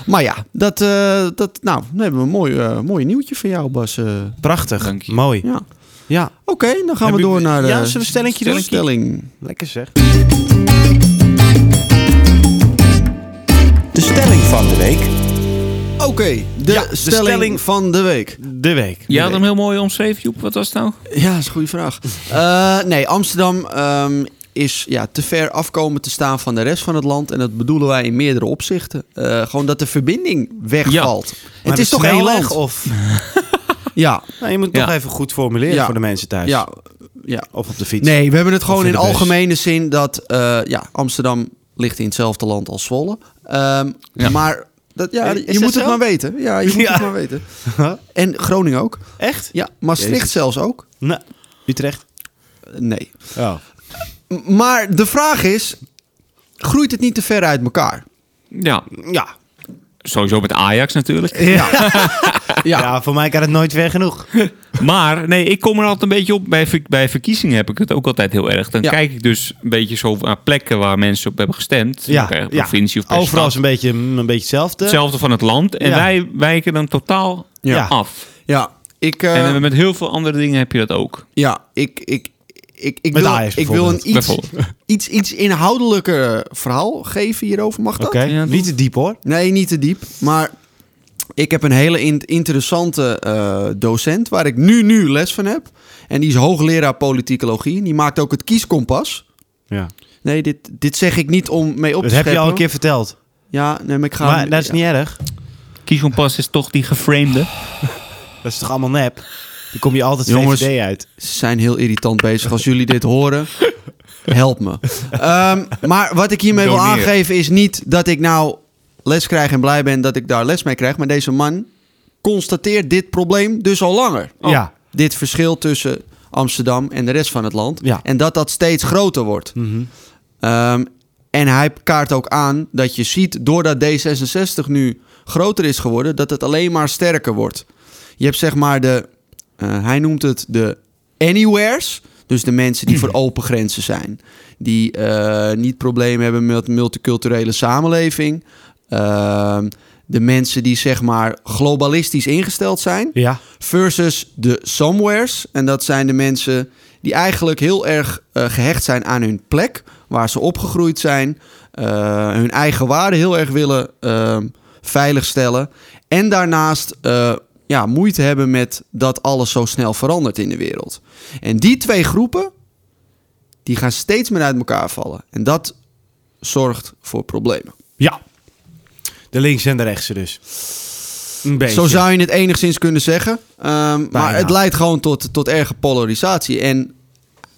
S3: Maar ja, dat, eh, dat, nou, dan hebben we een mooi, eh, mooi nieuwtje voor jou, Bas. eh.
S2: Prachtig,
S4: Dank je.
S2: mooi.
S3: ja.
S2: Ja.
S3: Oké, dan gaan
S2: Heb
S3: we
S2: je-
S3: door naar de
S2: ja, zullen we een stellingje doen?
S3: stelling.
S2: Lekker zeg.
S1: De stelling van de week.
S3: Oké, de,
S2: Ja, de
S3: stelling
S2: stelling-
S3: van de week.
S2: De week.
S4: Je had hem heel mooi omschreven, Joep. Wat was het nou?
S3: Ja, dat is een goede vraag. Eh, nee, Amsterdam ehm, is ja, te ver afkomen te staan van de rest van het land. En dat bedoelen wij in meerdere opzichten. Eh, gewoon dat de verbinding wegvalt.
S2: Maar
S3: het is toch
S2: snel
S3: heel
S2: weg,
S3: land?
S2: Of,
S3: Ja,
S2: nou, je moet het
S4: Ja.
S2: toch even goed formuleren
S3: Ja.
S2: voor de mensen thuis.
S3: ja, ja.
S2: Of op de fiets.
S3: Nee, we hebben het gewoon
S2: Of
S3: in
S2: in de bus.
S3: algemene zin dat eh, ja, Amsterdam ligt in hetzelfde land als Zwolle. Ehm, Maar dat, ja,
S2: Is
S3: Eh, je
S2: dat
S3: moet het
S2: zo?
S3: maar weten. Ja, je moet
S2: Ja.
S3: het maar weten. En Groningen ook.
S2: Echt?
S3: Ja, Maastricht
S2: Jezus.
S3: zelfs ook.
S2: Nou, Utrecht.
S3: Nee.
S2: Oh.
S3: M- Maar de vraag is, groeit het niet te ver uit elkaar?
S4: Ja,
S2: Ja.
S4: sowieso met Ajax natuurlijk.
S2: Ja. voor mij kan het nooit ver genoeg.
S4: Maar nee, ik kom er altijd een beetje op. Bij, ver- bij verkiezingen heb ik het ook altijd heel erg. Dan
S3: Ja.
S4: kijk ik dus een beetje zo naar plekken waar mensen op hebben gestemd.
S2: Ja,
S4: Per
S2: ja.
S4: provincie of per
S2: Overal is
S4: stad.
S2: een beetje, een beetje hetzelfde.
S4: Hetzelfde van het land. En
S2: Ja.
S4: wij wijken dan totaal
S2: Ja.
S4: af.
S3: Ja, ik, eh,
S4: En met heel veel andere dingen heb je dat ook.
S3: ja, ik, ik, ik, ik,
S2: Met
S3: wil,
S2: Ajax
S3: ik wil een iets,
S4: Bijvoorbeeld.
S3: iets, iets inhoudelijker verhaal geven hierover. Mag dat?
S2: Oké,
S4: Ja,
S2: niet te diep hoor.
S3: Nee, niet te diep. Maar ik heb een hele in- interessante eh, docent waar ik nu, nu les van heb. En die is hoogleraar politicologie. En die maakt ook het kieskompas.
S2: Ja.
S3: Nee, dit, dit zeg ik niet om mee op
S2: Dat
S3: te
S2: heb je
S3: scheppen.
S2: al een keer verteld.
S3: Ja, nee, maar ik ga...
S2: maar dat is niet erg.
S4: Kieskompas is toch die geframede.
S2: Dat is toch allemaal nep? Dan kom je altijd
S3: Jongens.
S2: VVD uit.
S3: Ze zijn heel irritant bezig. Als jullie dit horen, help me. Ehm, maar wat ik hiermee wil
S4: Doneer.
S3: aangeven is niet dat ik nou les krijg en blij ben dat ik daar les mee krijg. Maar deze man constateert dit probleem dus al langer.
S2: Ja.
S3: Dit verschil tussen Amsterdam en de rest van het land.
S2: Ja. Mhm.
S3: En dat dat steeds groter wordt. Ehm, en hij kaart ook aan dat je ziet, doordat D66 nu groter is geworden, dat het alleen maar sterker wordt. Je hebt zeg maar de, eh, hij noemt het de anywheres. Dus de mensen die voor open grenzen zijn. Die eh, niet problemen hebben met multiculturele samenleving. Ehm, de mensen die zeg maar globalistisch ingesteld zijn.
S2: Ja.
S3: Versus de somewheres. En dat zijn de mensen die eigenlijk heel erg eh, gehecht zijn aan hun plek, waar ze opgegroeid zijn, eh, hun eigen waarde heel erg willen ehm, veiligstellen. En daarnaast eh, ja, moeite hebben met dat alles zo snel verandert in de wereld. En die twee groepen, die gaan steeds meer uit elkaar vallen. En dat zorgt voor problemen.
S2: Ja. De links en de rechtse dus. Een beetje.
S3: Zo zou je het enigszins kunnen zeggen. Ehm, maar het leidt gewoon tot, tot erge polarisatie. En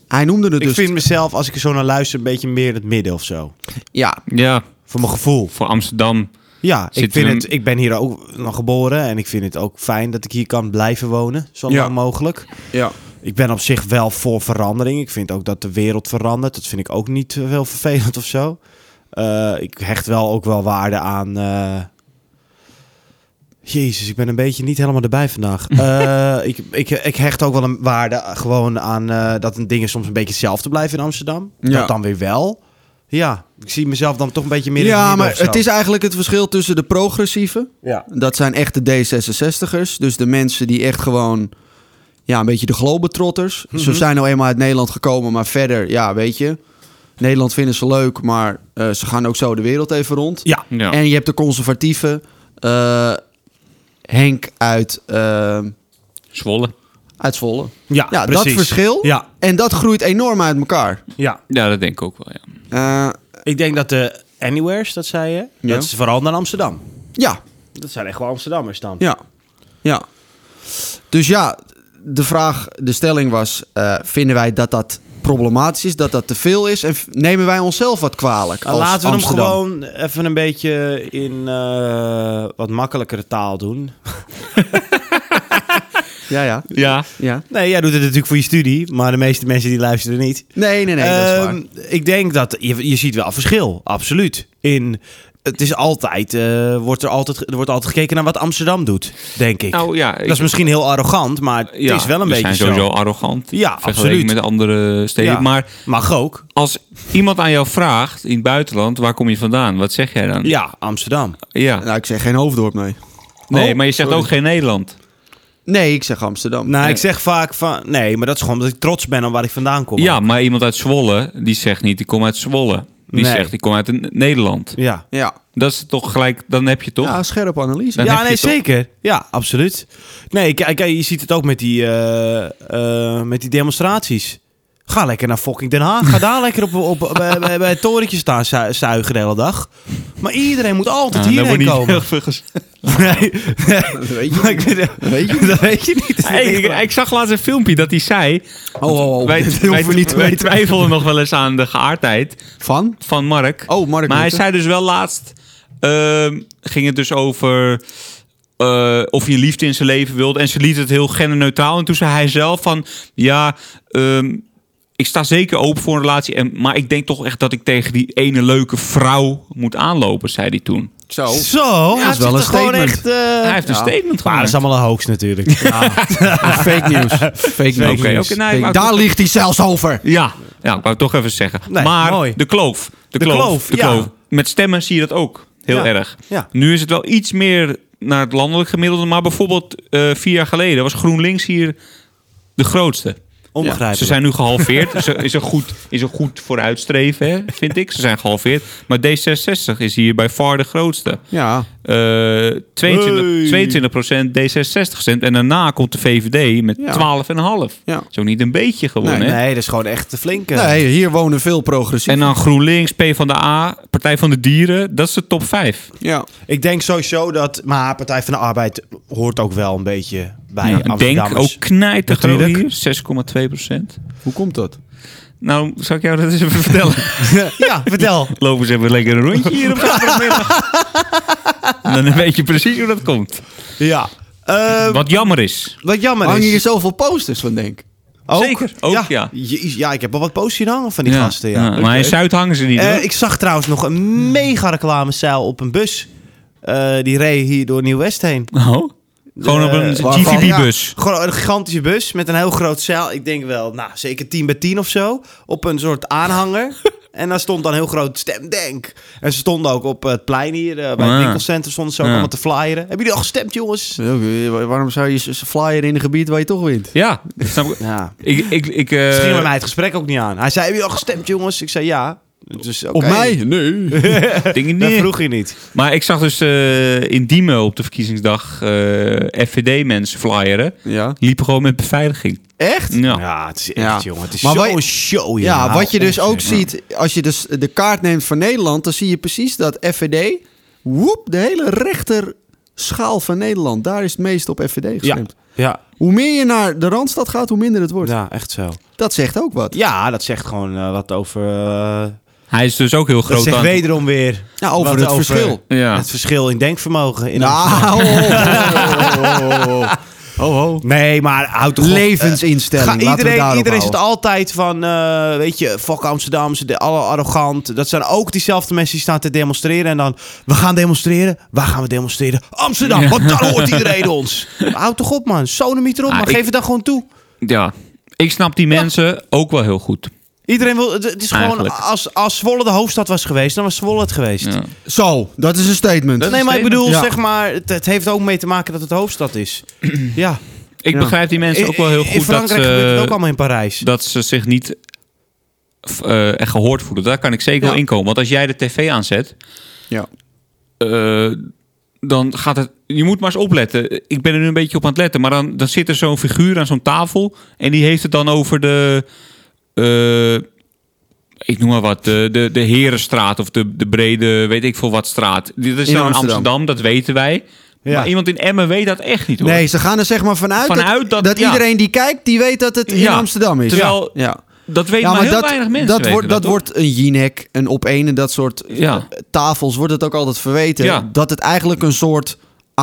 S3: hij noemde het
S2: ik
S3: dus...
S2: vind mezelf, als ik er zo naar luister, een beetje meer in het midden of zo.
S3: Ja,
S4: Ja,
S2: Voor mijn gevoel.
S4: voor Amsterdam.
S2: Ja, ik,
S4: Zit
S2: vind
S4: er een-
S2: het, ik ben hier ook nog geboren en ik vind het ook fijn dat ik hier kan blijven wonen, zo
S3: Ja.
S2: lang mogelijk.
S3: ja.
S2: Ik ben op zich wel voor verandering. Ik vind ook dat de wereld verandert. Dat vind ik ook niet eh, heel vervelend of zo. Eh, ik hecht wel ook wel waarde aan. eh, Jezus, ik ben een beetje niet helemaal erbij vandaag. Eh, ik, ik, ik hecht ook wel een waarde gewoon aan eh, dat een dingen soms een beetje hetzelfde blijven in Amsterdam.
S3: Ja.
S2: Dat dan weer wel. Ja, ik zie mezelf dan toch een beetje meer in
S3: Ja,
S2: midden
S3: maar
S2: of zo.
S3: het is eigenlijk het verschil tussen de progressieven.
S2: Ja.
S3: Dat zijn echt de D66'ers. Dus de mensen die echt gewoon... Ja, een beetje de globetrotters.
S2: Mhm.
S3: Ze zijn nou eenmaal uit Nederland gekomen, maar verder, ja, weet je... Nederland vinden ze leuk, maar eh, ze gaan ook zo de wereld even rond.
S2: Ja.
S4: Ja.
S3: En je hebt de conservatieve eh, Henk uit, eh,
S4: Zwolle.
S3: uit Zwolle.
S2: Ja,
S3: Ja, dat
S2: precies.
S3: verschil.
S2: Ja,
S3: En dat groeit enorm uit elkaar.
S2: ja.
S4: Ja, dat denk ik ook wel, ja.
S3: Eh,
S2: Ik denk dat de Anywheres, dat zei je,
S3: Ja.
S2: dat is vooral naar Amsterdam.
S3: ja,
S2: Dat zijn echt wel Amsterdammers dan.
S3: Ja. Ja. Dus ja, de vraag, de stelling was: eh, vinden wij dat dat problematisch is, dat dat te veel is? En v- nemen wij onszelf wat kwalijk?
S2: Nou,
S3: Als
S2: Laten we
S3: Amsterdam?
S2: hem gewoon even een beetje in eh, wat makkelijkere taal doen.
S3: Ja, ja.
S4: Ja,
S3: ja.
S2: Nee, jij doet het natuurlijk voor je studie, maar de meeste mensen die luisteren niet.
S3: Nee, nee, nee. dat is waar.
S2: Ehm, Ik denk dat je, je ziet wel verschil, absoluut. In, het is altijd, eh, wordt er altijd, er wordt altijd gekeken naar wat Amsterdam doet, denk ik.
S4: nou ja.
S2: dat is misschien heel arrogant, maar het is wel een
S4: we
S2: beetje
S4: zijn sowieso
S2: zo.
S4: arrogant.
S2: Ja,
S4: vergeleken
S2: absoluut.
S4: met andere steden.
S2: Ja.
S4: Maar
S2: Mag ook.
S4: als iemand aan jou vraagt in het buitenland, waar kom je vandaan? Wat zeg jij dan?
S2: Ja, Amsterdam.
S4: Ja.
S3: Nou, ik zeg geen Hoofddorp, nee.
S4: nee,
S2: Oh,
S4: maar je zegt ook geen Nederland.
S3: Nee, ik zeg Amsterdam.
S2: Nou, ik zeg vaak van... Nee, maar dat is gewoon omdat ik trots ben op waar ik vandaan kom.
S4: Ja, maar iemand uit Zwolle, die zegt niet, ik kom uit Zwolle. Die
S2: Nee.
S4: zegt, ik kom uit een- Nederland.
S2: Ja,
S3: Ja.
S4: Dat is toch gelijk, dan heb je toch? Nou,
S3: ja, scherp analyse.
S4: Dan
S2: ja
S4: heb je
S2: nee,
S4: toch-
S2: zeker. Ja, absoluut. Nee, kijk, kijk, je ziet het ook met die, eh, eh, met die demonstraties. Ga lekker naar fucking Den Haag. Ga daar lekker op, op, op- bij, bij, bij het torentje staan zu- zuigen de hele dag. Maar iedereen moet altijd
S4: Nou, daar wordt
S2: hierheen
S4: niet heel
S2: komen.
S4: veel gezegd.
S2: Nee, nee.
S3: Weet je,
S2: Maar ik weet-
S3: weet je?
S2: Dat weet je niet.
S4: Hey, ik, ik zag laatst een filmpje dat hij zei...
S3: Oh, oh, oh.
S4: wij,
S3: Dat hoeven
S4: wij,
S3: we niet te
S4: wij
S3: weten.
S4: twijfelen nog wel eens aan de geaardheid
S3: Van?
S4: van Mark.
S3: Oh, Mark
S4: maar hij
S3: Rutte.
S4: zei dus wel laatst... ehm, ging het dus over eh, of je liefde in zijn leven wilde. En ze liet het heel genderneutraal. En toen zei hij zelf van... Ja, ehm, ik sta zeker open voor een relatie. En, maar ik denk toch echt dat ik tegen die ene leuke vrouw moet aanlopen, zei hij toen. Dus
S2: Oh.
S3: Zo.
S2: Zo,
S3: dat is wel
S2: gewoon
S3: een statement.
S2: echt... eh,
S4: hij heeft een statement
S2: maar Ah, dat
S4: gemaakt.
S2: is allemaal een hoax natuurlijk.
S3: Fake news. Fake news.
S4: Oké, oké, nee, maar-
S3: Daar ligt hij zelfs over.
S4: Ja, ja, ik wou het toch even zeggen.
S2: Nee,
S4: maar
S2: mooi.
S4: de kloof. De,
S2: De
S4: kloof.
S2: kloof,
S4: de
S2: ja.
S4: kloof. Met stemmen zie je dat ook. Heel
S2: Ja,
S4: erg.
S2: ja.
S4: Nu is het wel iets meer naar het landelijk gemiddelde. Maar bijvoorbeeld eh, vier jaar geleden was GroenLinks hier de grootste.
S2: Onbegrijpelijk.
S4: Ze zijn nu gehalveerd. is, een- is, een goed, is een goed vooruitstreven, hè, vind ik. Ze zijn gehalveerd. Maar D66 is hier bij far de grootste.
S3: Ja.
S4: Eh 22,
S2: Hey.
S4: 22% D66 stemt. En daarna komt de VVD met
S3: Ja.
S4: 12,5.
S3: Ja.
S4: Zo niet een beetje gewoon, hè?
S2: Nee, dat is gewoon echt te flink. eh.
S3: Nee, hier wonen veel progressieven.
S4: En dan GroenLinks, P van de A, Partij van de Dieren. Dat is de top 5.
S3: Ja.
S2: Ik denk sowieso dat... Maar Partij van de Arbeid hoort ook wel een beetje bij
S4: denk
S2: Amsterdammers.
S4: ook knijter groot
S2: Natuurlijk.
S4: hier. 6,2 procent.
S3: Hoe komt dat?
S4: Nou, zal ik jou dat eens even vertellen?
S2: Ja, vertel.
S4: Lopen ze even lekker een rondje hier op zaterdagmiddag. Dan weet je precies hoe dat komt.
S2: Ja. Eh,
S4: Wat jammer is.
S2: wat jammer
S3: Hangen
S2: is...
S3: hier zoveel posters van, denk ik.
S2: Ook,
S4: Zeker, ook, ja.
S2: Jezus, ja, ik heb wel wat postjes hangen van die gasten, ja.
S4: Maar in Zuid hangen ze niet.
S2: Eh,
S4: hoor.
S2: ik zag trouwens nog een mega reclamezeil op een bus. Eh, die reed hier door Nieuw-West heen.
S4: Oh. Gewoon op een
S2: Eh,
S3: waarvan?
S4: GTB-bus.
S2: Gewoon een gigantische bus met een heel groot zeil. Ik denk wel, nou, zeker 10 bij 10 of zo. Op een soort aanhanger. en daar stond dan heel groot stemdenk. En ze stonden ook op het plein hier, eh, bij
S4: Ah.
S2: het winkelcentrum, stonden ze ook
S4: Ja.
S2: allemaal te flyeren. Hebben jullie al gestemd, jongens?
S3: Waarom zou je s- flyer in een gebied waar je toch wint?
S4: Ja, dat snap ik.
S2: Ja.
S4: Ik, ik, ik, eh,
S2: Misschien ging bij mij het gesprek ook niet aan. Hij zei, hebben jullie al gestemd, jongens? Ik zei, ja. Dus, oké.
S3: Op mij? Nee.
S4: denk ik
S2: Dat
S4: niet.
S2: vroeg je niet.
S4: Maar ik zag dus eh, in Diemen op de verkiezingsdag eh, FVD-mensen flyeren.
S3: Ja.
S4: Liepen gewoon met beveiliging.
S3: Echt?
S4: Ja.
S2: Ja, het is echt,
S3: Ja.
S2: jongen. Het is
S3: Maar
S2: zo'n
S3: wat-
S2: show,
S3: Ja,
S2: Nou,
S3: wat je dus ook
S2: onzin.
S3: ziet, als je dus de kaart neemt van Nederland, dan zie je precies dat FVD, woep, de hele rechter schaal van Nederland, daar is het meest op FVD
S2: Ja,
S3: gestemd.
S2: ja,
S3: Hoe meer je naar de Randstad gaat, hoe minder het wordt.
S2: ja, echt zo.
S3: Dat zegt ook wat.
S2: Ja, dat zegt gewoon eh, wat over... eh,
S4: Hij is dus ook heel groot
S2: dat zegt
S4: aan-
S2: wederom weer...
S3: Nou, over
S2: wat
S3: het verschil.
S4: Ja.
S2: Het verschil in denkvermogen. In
S3: Nou,
S2: Amsterdam. Nee, maar houd toch op.
S3: levensinstelling.
S2: Ga,
S3: laten we
S2: iedereen
S3: daarop
S2: iedereen zit
S3: houden.
S2: altijd van, eh, weet je, fuck Amsterdam, ze zijn alle arrogant. Dat zijn ook diezelfde mensen die staan te demonstreren. En dan, we gaan demonstreren. Waar gaan we demonstreren? Amsterdam, want daar hoort iedereen ons. Houd toch op, man. Sonemieter erop,
S4: Ah,
S2: maar
S4: ik-
S2: geef het dan gewoon toe.
S4: Ja. Ik snap die mensen ook wel heel goed.
S2: Iedereen wil, het, het is gewoon,
S4: Eigenlijk.
S2: als, als Zwolle de hoofdstad was geweest, dan was Zwolle het geweest.
S4: Ja.
S3: Zo, dat is een
S2: Nee,
S3: statement.
S2: maar ik
S4: statement.
S2: bedoel,
S3: Ja.
S2: zeg maar, het, het heeft ook mee te maken dat het de hoofdstad is. ja.
S4: Ik begrijp die mensen ook wel heel
S2: In
S4: goed dat eh,
S2: Frankrijk gebeurt het ook
S4: ze,
S2: allemaal in Parijs.
S4: dat ze zich niet f- eh, echt gehoord voelen. Daar kan ik zeker wel inkomen. Want als jij de tv aanzet,
S3: Ja.
S4: eh, dan gaat het... Je moet maar eens opletten. Ik ben er nu een beetje op aan het letten. Maar dan, dan zit er zo'n figuur aan zo'n tafel. En die heeft het dan over de... eh, ik noem maar wat. De, de, de Herenstraat of de, de brede weet ik veel wat straat. Dit is
S3: In
S4: dan in
S3: Amsterdam.
S4: Amsterdam, dat weten wij.
S2: Ja.
S4: Maar iemand in Emmen weet dat echt niet hoor.
S3: Nee, ze gaan er zeg maar vanuit,
S4: Vanuit
S3: dat,
S4: dat-
S3: dat
S4: ja.
S3: iedereen die kijkt, die weet dat het in
S4: Ja.
S3: Amsterdam is.
S4: Terwijl-
S3: ja. Ja.
S4: Dat weten maar, heel weinig mensen.
S3: dat,
S4: weten
S3: wordt, dat
S4: hoor.
S3: wordt een jinek, een op een en dat soort
S4: Ja.
S3: eh, tafels wordt het ook altijd verweten.
S4: Ja.
S3: Dat het eigenlijk een soort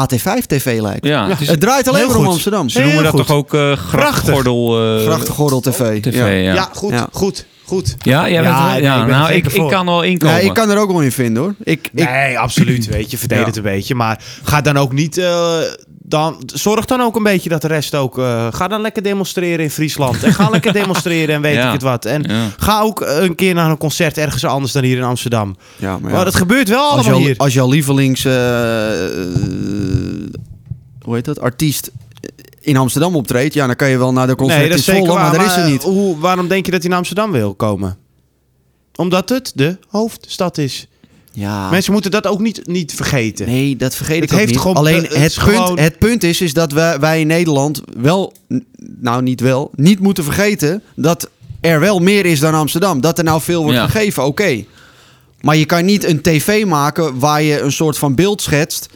S3: AT5-tv lijkt.
S4: Ja, het is-
S3: het draait alleen
S2: Heel
S3: maar om
S2: goed.
S3: Amsterdam.
S4: Ze noemen
S2: Heel
S4: dat
S2: goed.
S4: toch ook eh grachtgordel eh,
S3: Grachtengordel TV.
S4: TV.
S3: ja.
S4: Ja,
S2: ja.
S4: ja.
S2: goed,
S3: Ja.
S2: goed, goed.
S4: jij
S2: Ja,
S4: bent wel-
S2: nee,
S4: ja,
S2: ik ben
S4: nou,
S2: er
S4: ik,
S2: zeker
S4: ik
S2: voor.
S4: kan wel inkomen.
S3: Nee, ik kan er ook wel in vinden hoor. Ik, ik,
S2: Nee, absoluut. Weet je, verdedig het een beetje. Maar ga dan ook niet. eh, dan, zorg dan ook een beetje dat de rest ook. eh, ga dan lekker demonstreren in Friesland. En ga lekker demonstreren en weet
S4: Ja.
S2: ik het wat. En
S4: Ja.
S2: ga ook een keer naar een concert ergens anders dan hier in Amsterdam.
S3: Ja, maar
S2: maar,
S3: ja.
S2: dat gebeurt wel
S3: als,
S2: allemaal
S3: jouw,
S2: hier.
S3: als jouw lievelings... eh, eh, hoe heet dat? Artiest in Amsterdam optreedt, ja, dan kan je wel naar de concert
S2: nee, dat is
S3: in
S2: zeker
S3: Zwolle,
S2: waar.
S3: maar daar is
S2: maar,
S3: ze
S2: eh,
S3: niet.
S2: Hoe, waarom denk je dat hij naar Amsterdam wil komen? Omdat het de hoofdstad is.
S3: Ja.
S2: Mensen moeten dat ook niet, niet vergeten.
S3: Ah. Nee, dat vergeet
S2: Het
S3: ik ook
S2: heeft
S3: niet.
S2: gewoon-
S3: Alleen
S2: het
S3: het,
S2: is
S3: punt,
S2: gewoon-
S3: het punt is, is dat wij, wij in Nederland wel, n- nou niet wel, niet moeten vergeten dat er wel meer is dan Amsterdam. Dat er nou veel wordt
S4: Ja.
S3: gegeven, oké. Maar je kan niet een tv maken waar je een soort van beeld schetst...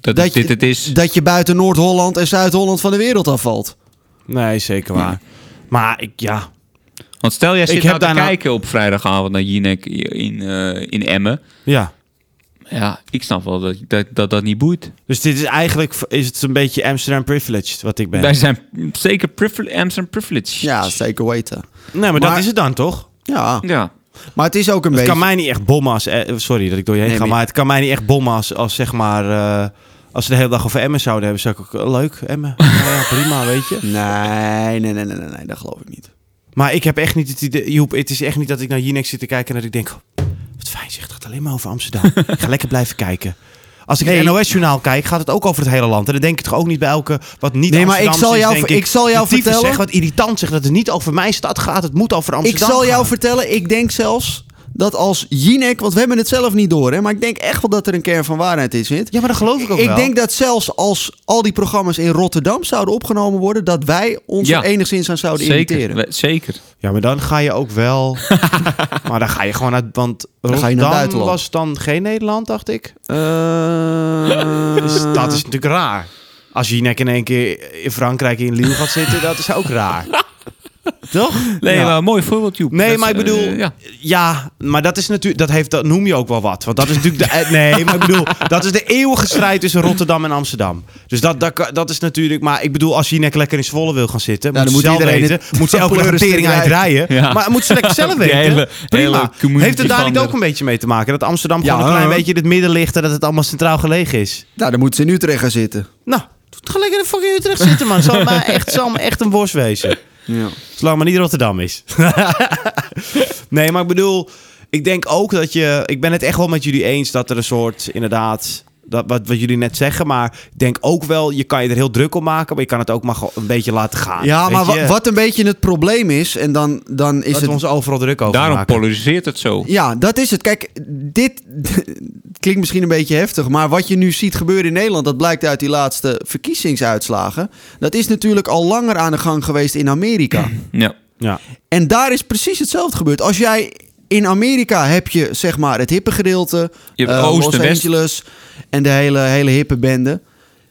S4: Dat,
S3: dat
S4: is dit
S3: je,
S4: het is.
S3: dat je buiten Noord-Holland en Zuid-Holland van de wereld afvalt.
S2: Nee, zeker waar. Maar ik, ja.
S4: Want stel, jij zit
S2: Ik
S4: nou
S2: heb
S4: te
S2: daarna-
S4: kijken op vrijdagavond naar Jinek in, eh, in Emmen.
S2: Ja.
S4: Ja, ik snap wel dat dat, dat, dat niet boeit.
S2: Dus dit is eigenlijk is het een beetje Amsterdam privileged wat ik ben.
S4: Wij zijn zeker privile- Amsteren privileged.
S3: Ja, zeker weten.
S2: nee, maar, dat
S3: maar-
S2: is het dan toch?
S3: Ja,
S4: Ja.
S2: Oh,
S3: maar het is ook een
S2: Het
S3: beetje...
S2: kan mij niet echt bommen als... eh, Sorry dat ik door je heen
S3: Nee,
S2: ga,
S3: maar-
S2: maar het kan mij niet echt bommen als, als zeg maar... eh, als ze de hele dag over Emmen zouden hebben, zou ik ook... eh, Leuk, Emmen. Ja, ja, prima, weet je.
S3: Nee, nee, nee, nee, nee, nee, dat geloof ik niet.
S2: Maar ik heb echt niet het idee... Joep, het is echt niet dat ik naar Jinek zit te kijken en dat ik denk... "Oh, Wat fijn, zegt dat alleen maar over Amsterdam. ik ga lekker blijven kijken. Als ik
S3: Nee.
S2: het NOS-journaal kijk, gaat het ook over het hele land. En dan denk ik toch ook niet bij elke wat niet
S3: Nee, maar ik
S2: Amsterdams
S3: zal
S2: is,
S3: jou-
S2: denk
S3: ik zal jou
S2: de tyfus
S3: vertellen-
S2: Zeg, wat irritant zeg dat het niet over mijn stad gaat. Het moet over
S3: Ik
S2: Amsterdam
S3: zal jou
S2: gaan.
S3: vertellen, ik denk zelfs dat als Jinek... Want we hebben het zelf niet door, hè. Maar ik denk echt wel dat er een kern van waarheid in zit.
S2: Ja, maar dat geloof ik ook
S3: Ik
S2: wel.
S3: denk dat zelfs als al die programma's in Rotterdam zouden opgenomen worden, dat wij ons
S4: Ja.
S3: er enigszins aan zouden
S4: Zeker.
S3: irriteren.
S4: we- Zeker.
S2: Ja, maar dan ga je ook wel... maar dan ga je gewoon uit... Want
S3: je naar het
S2: Rotterdam
S3: buitenland.
S2: was dan geen Nederland, dacht ik.
S3: Eh,
S2: Dus dat is natuurlijk raar. Als Jinek in één keer in Frankrijk in Lille gaat zitten, dat is ook raar. Toch?
S4: Nee,
S2: Ja.
S4: maar een mooi voorbeeld, Joep.
S2: Nee,
S4: Dat-
S2: maar ik bedoel,
S4: eh,
S2: ja.
S4: ja.
S2: maar dat is natuurlijk, dat heeft, dat noem je ook wel wat. Want dat is natuurlijk de, eh, nee, maar ik bedoel, dat is de eeuwige strijd tussen Rotterdam en Amsterdam. Dus dat, dat, kan- dat is natuurlijk, maar ik bedoel, als Jinek lekker in Zwolle wil gaan zitten,
S3: Ja,
S2: moet,
S3: dan
S2: ze zelf
S3: moet iedereen
S2: weten,
S3: het-
S2: moet ze elke dag een
S3: pleuren
S2: tering
S3: stuk
S2: uitrijden.
S4: Ja.
S2: Maar moet ze lekker zelf
S4: Die
S2: weten.
S4: hele- hele
S2: Prima.
S4: community
S2: heeft het daar
S4: van
S2: niet
S4: de-
S2: ook een beetje mee te maken? Dat Amsterdam
S3: Ja,
S2: gewoon een klein
S3: hoor.
S2: beetje in het midden ligt en dat het allemaal centraal gelegen is?
S3: nou, dan moeten ze nu terecht gaan zitten.
S2: Nou, ga lekker in fucking Utrecht zitten, man. Zal maar echt, zal maar echt een worst wezen.
S3: Ja.
S2: Zolang maar niet Rotterdam is. nee, maar ik bedoel, ik denk ook dat je. Ik ben het echt wel met jullie eens dat er een soort, inderdaad. Dat, wat, wat jullie net zeggen, maar ik denk ook wel, je kan je er heel druk om maken, maar je kan het ook maar gewoon een beetje laten gaan.
S3: Ja,
S2: Weet
S3: maar
S2: je?
S3: wa- wat een beetje het probleem is, en dan, dan is
S2: dat
S3: het...
S2: we ons overal druk over
S4: Daarom
S2: maken.
S4: polariseert het zo.
S3: Ja, dat is het. Kijk, dit het klinkt misschien een beetje heftig, maar wat je nu ziet gebeuren in Nederland, dat blijkt uit die laatste verkiezingsuitslagen. Dat is natuurlijk al langer aan de gang geweest in Amerika.
S4: Ja.
S2: Ja.
S3: En daar is precies hetzelfde gebeurd. Als jij in Amerika heb je zeg maar het hippe gedeelte,
S4: Je hebt
S3: eh,
S4: Oost
S3: Los
S4: en West.
S3: Angeles en de hele, hele hippe bende.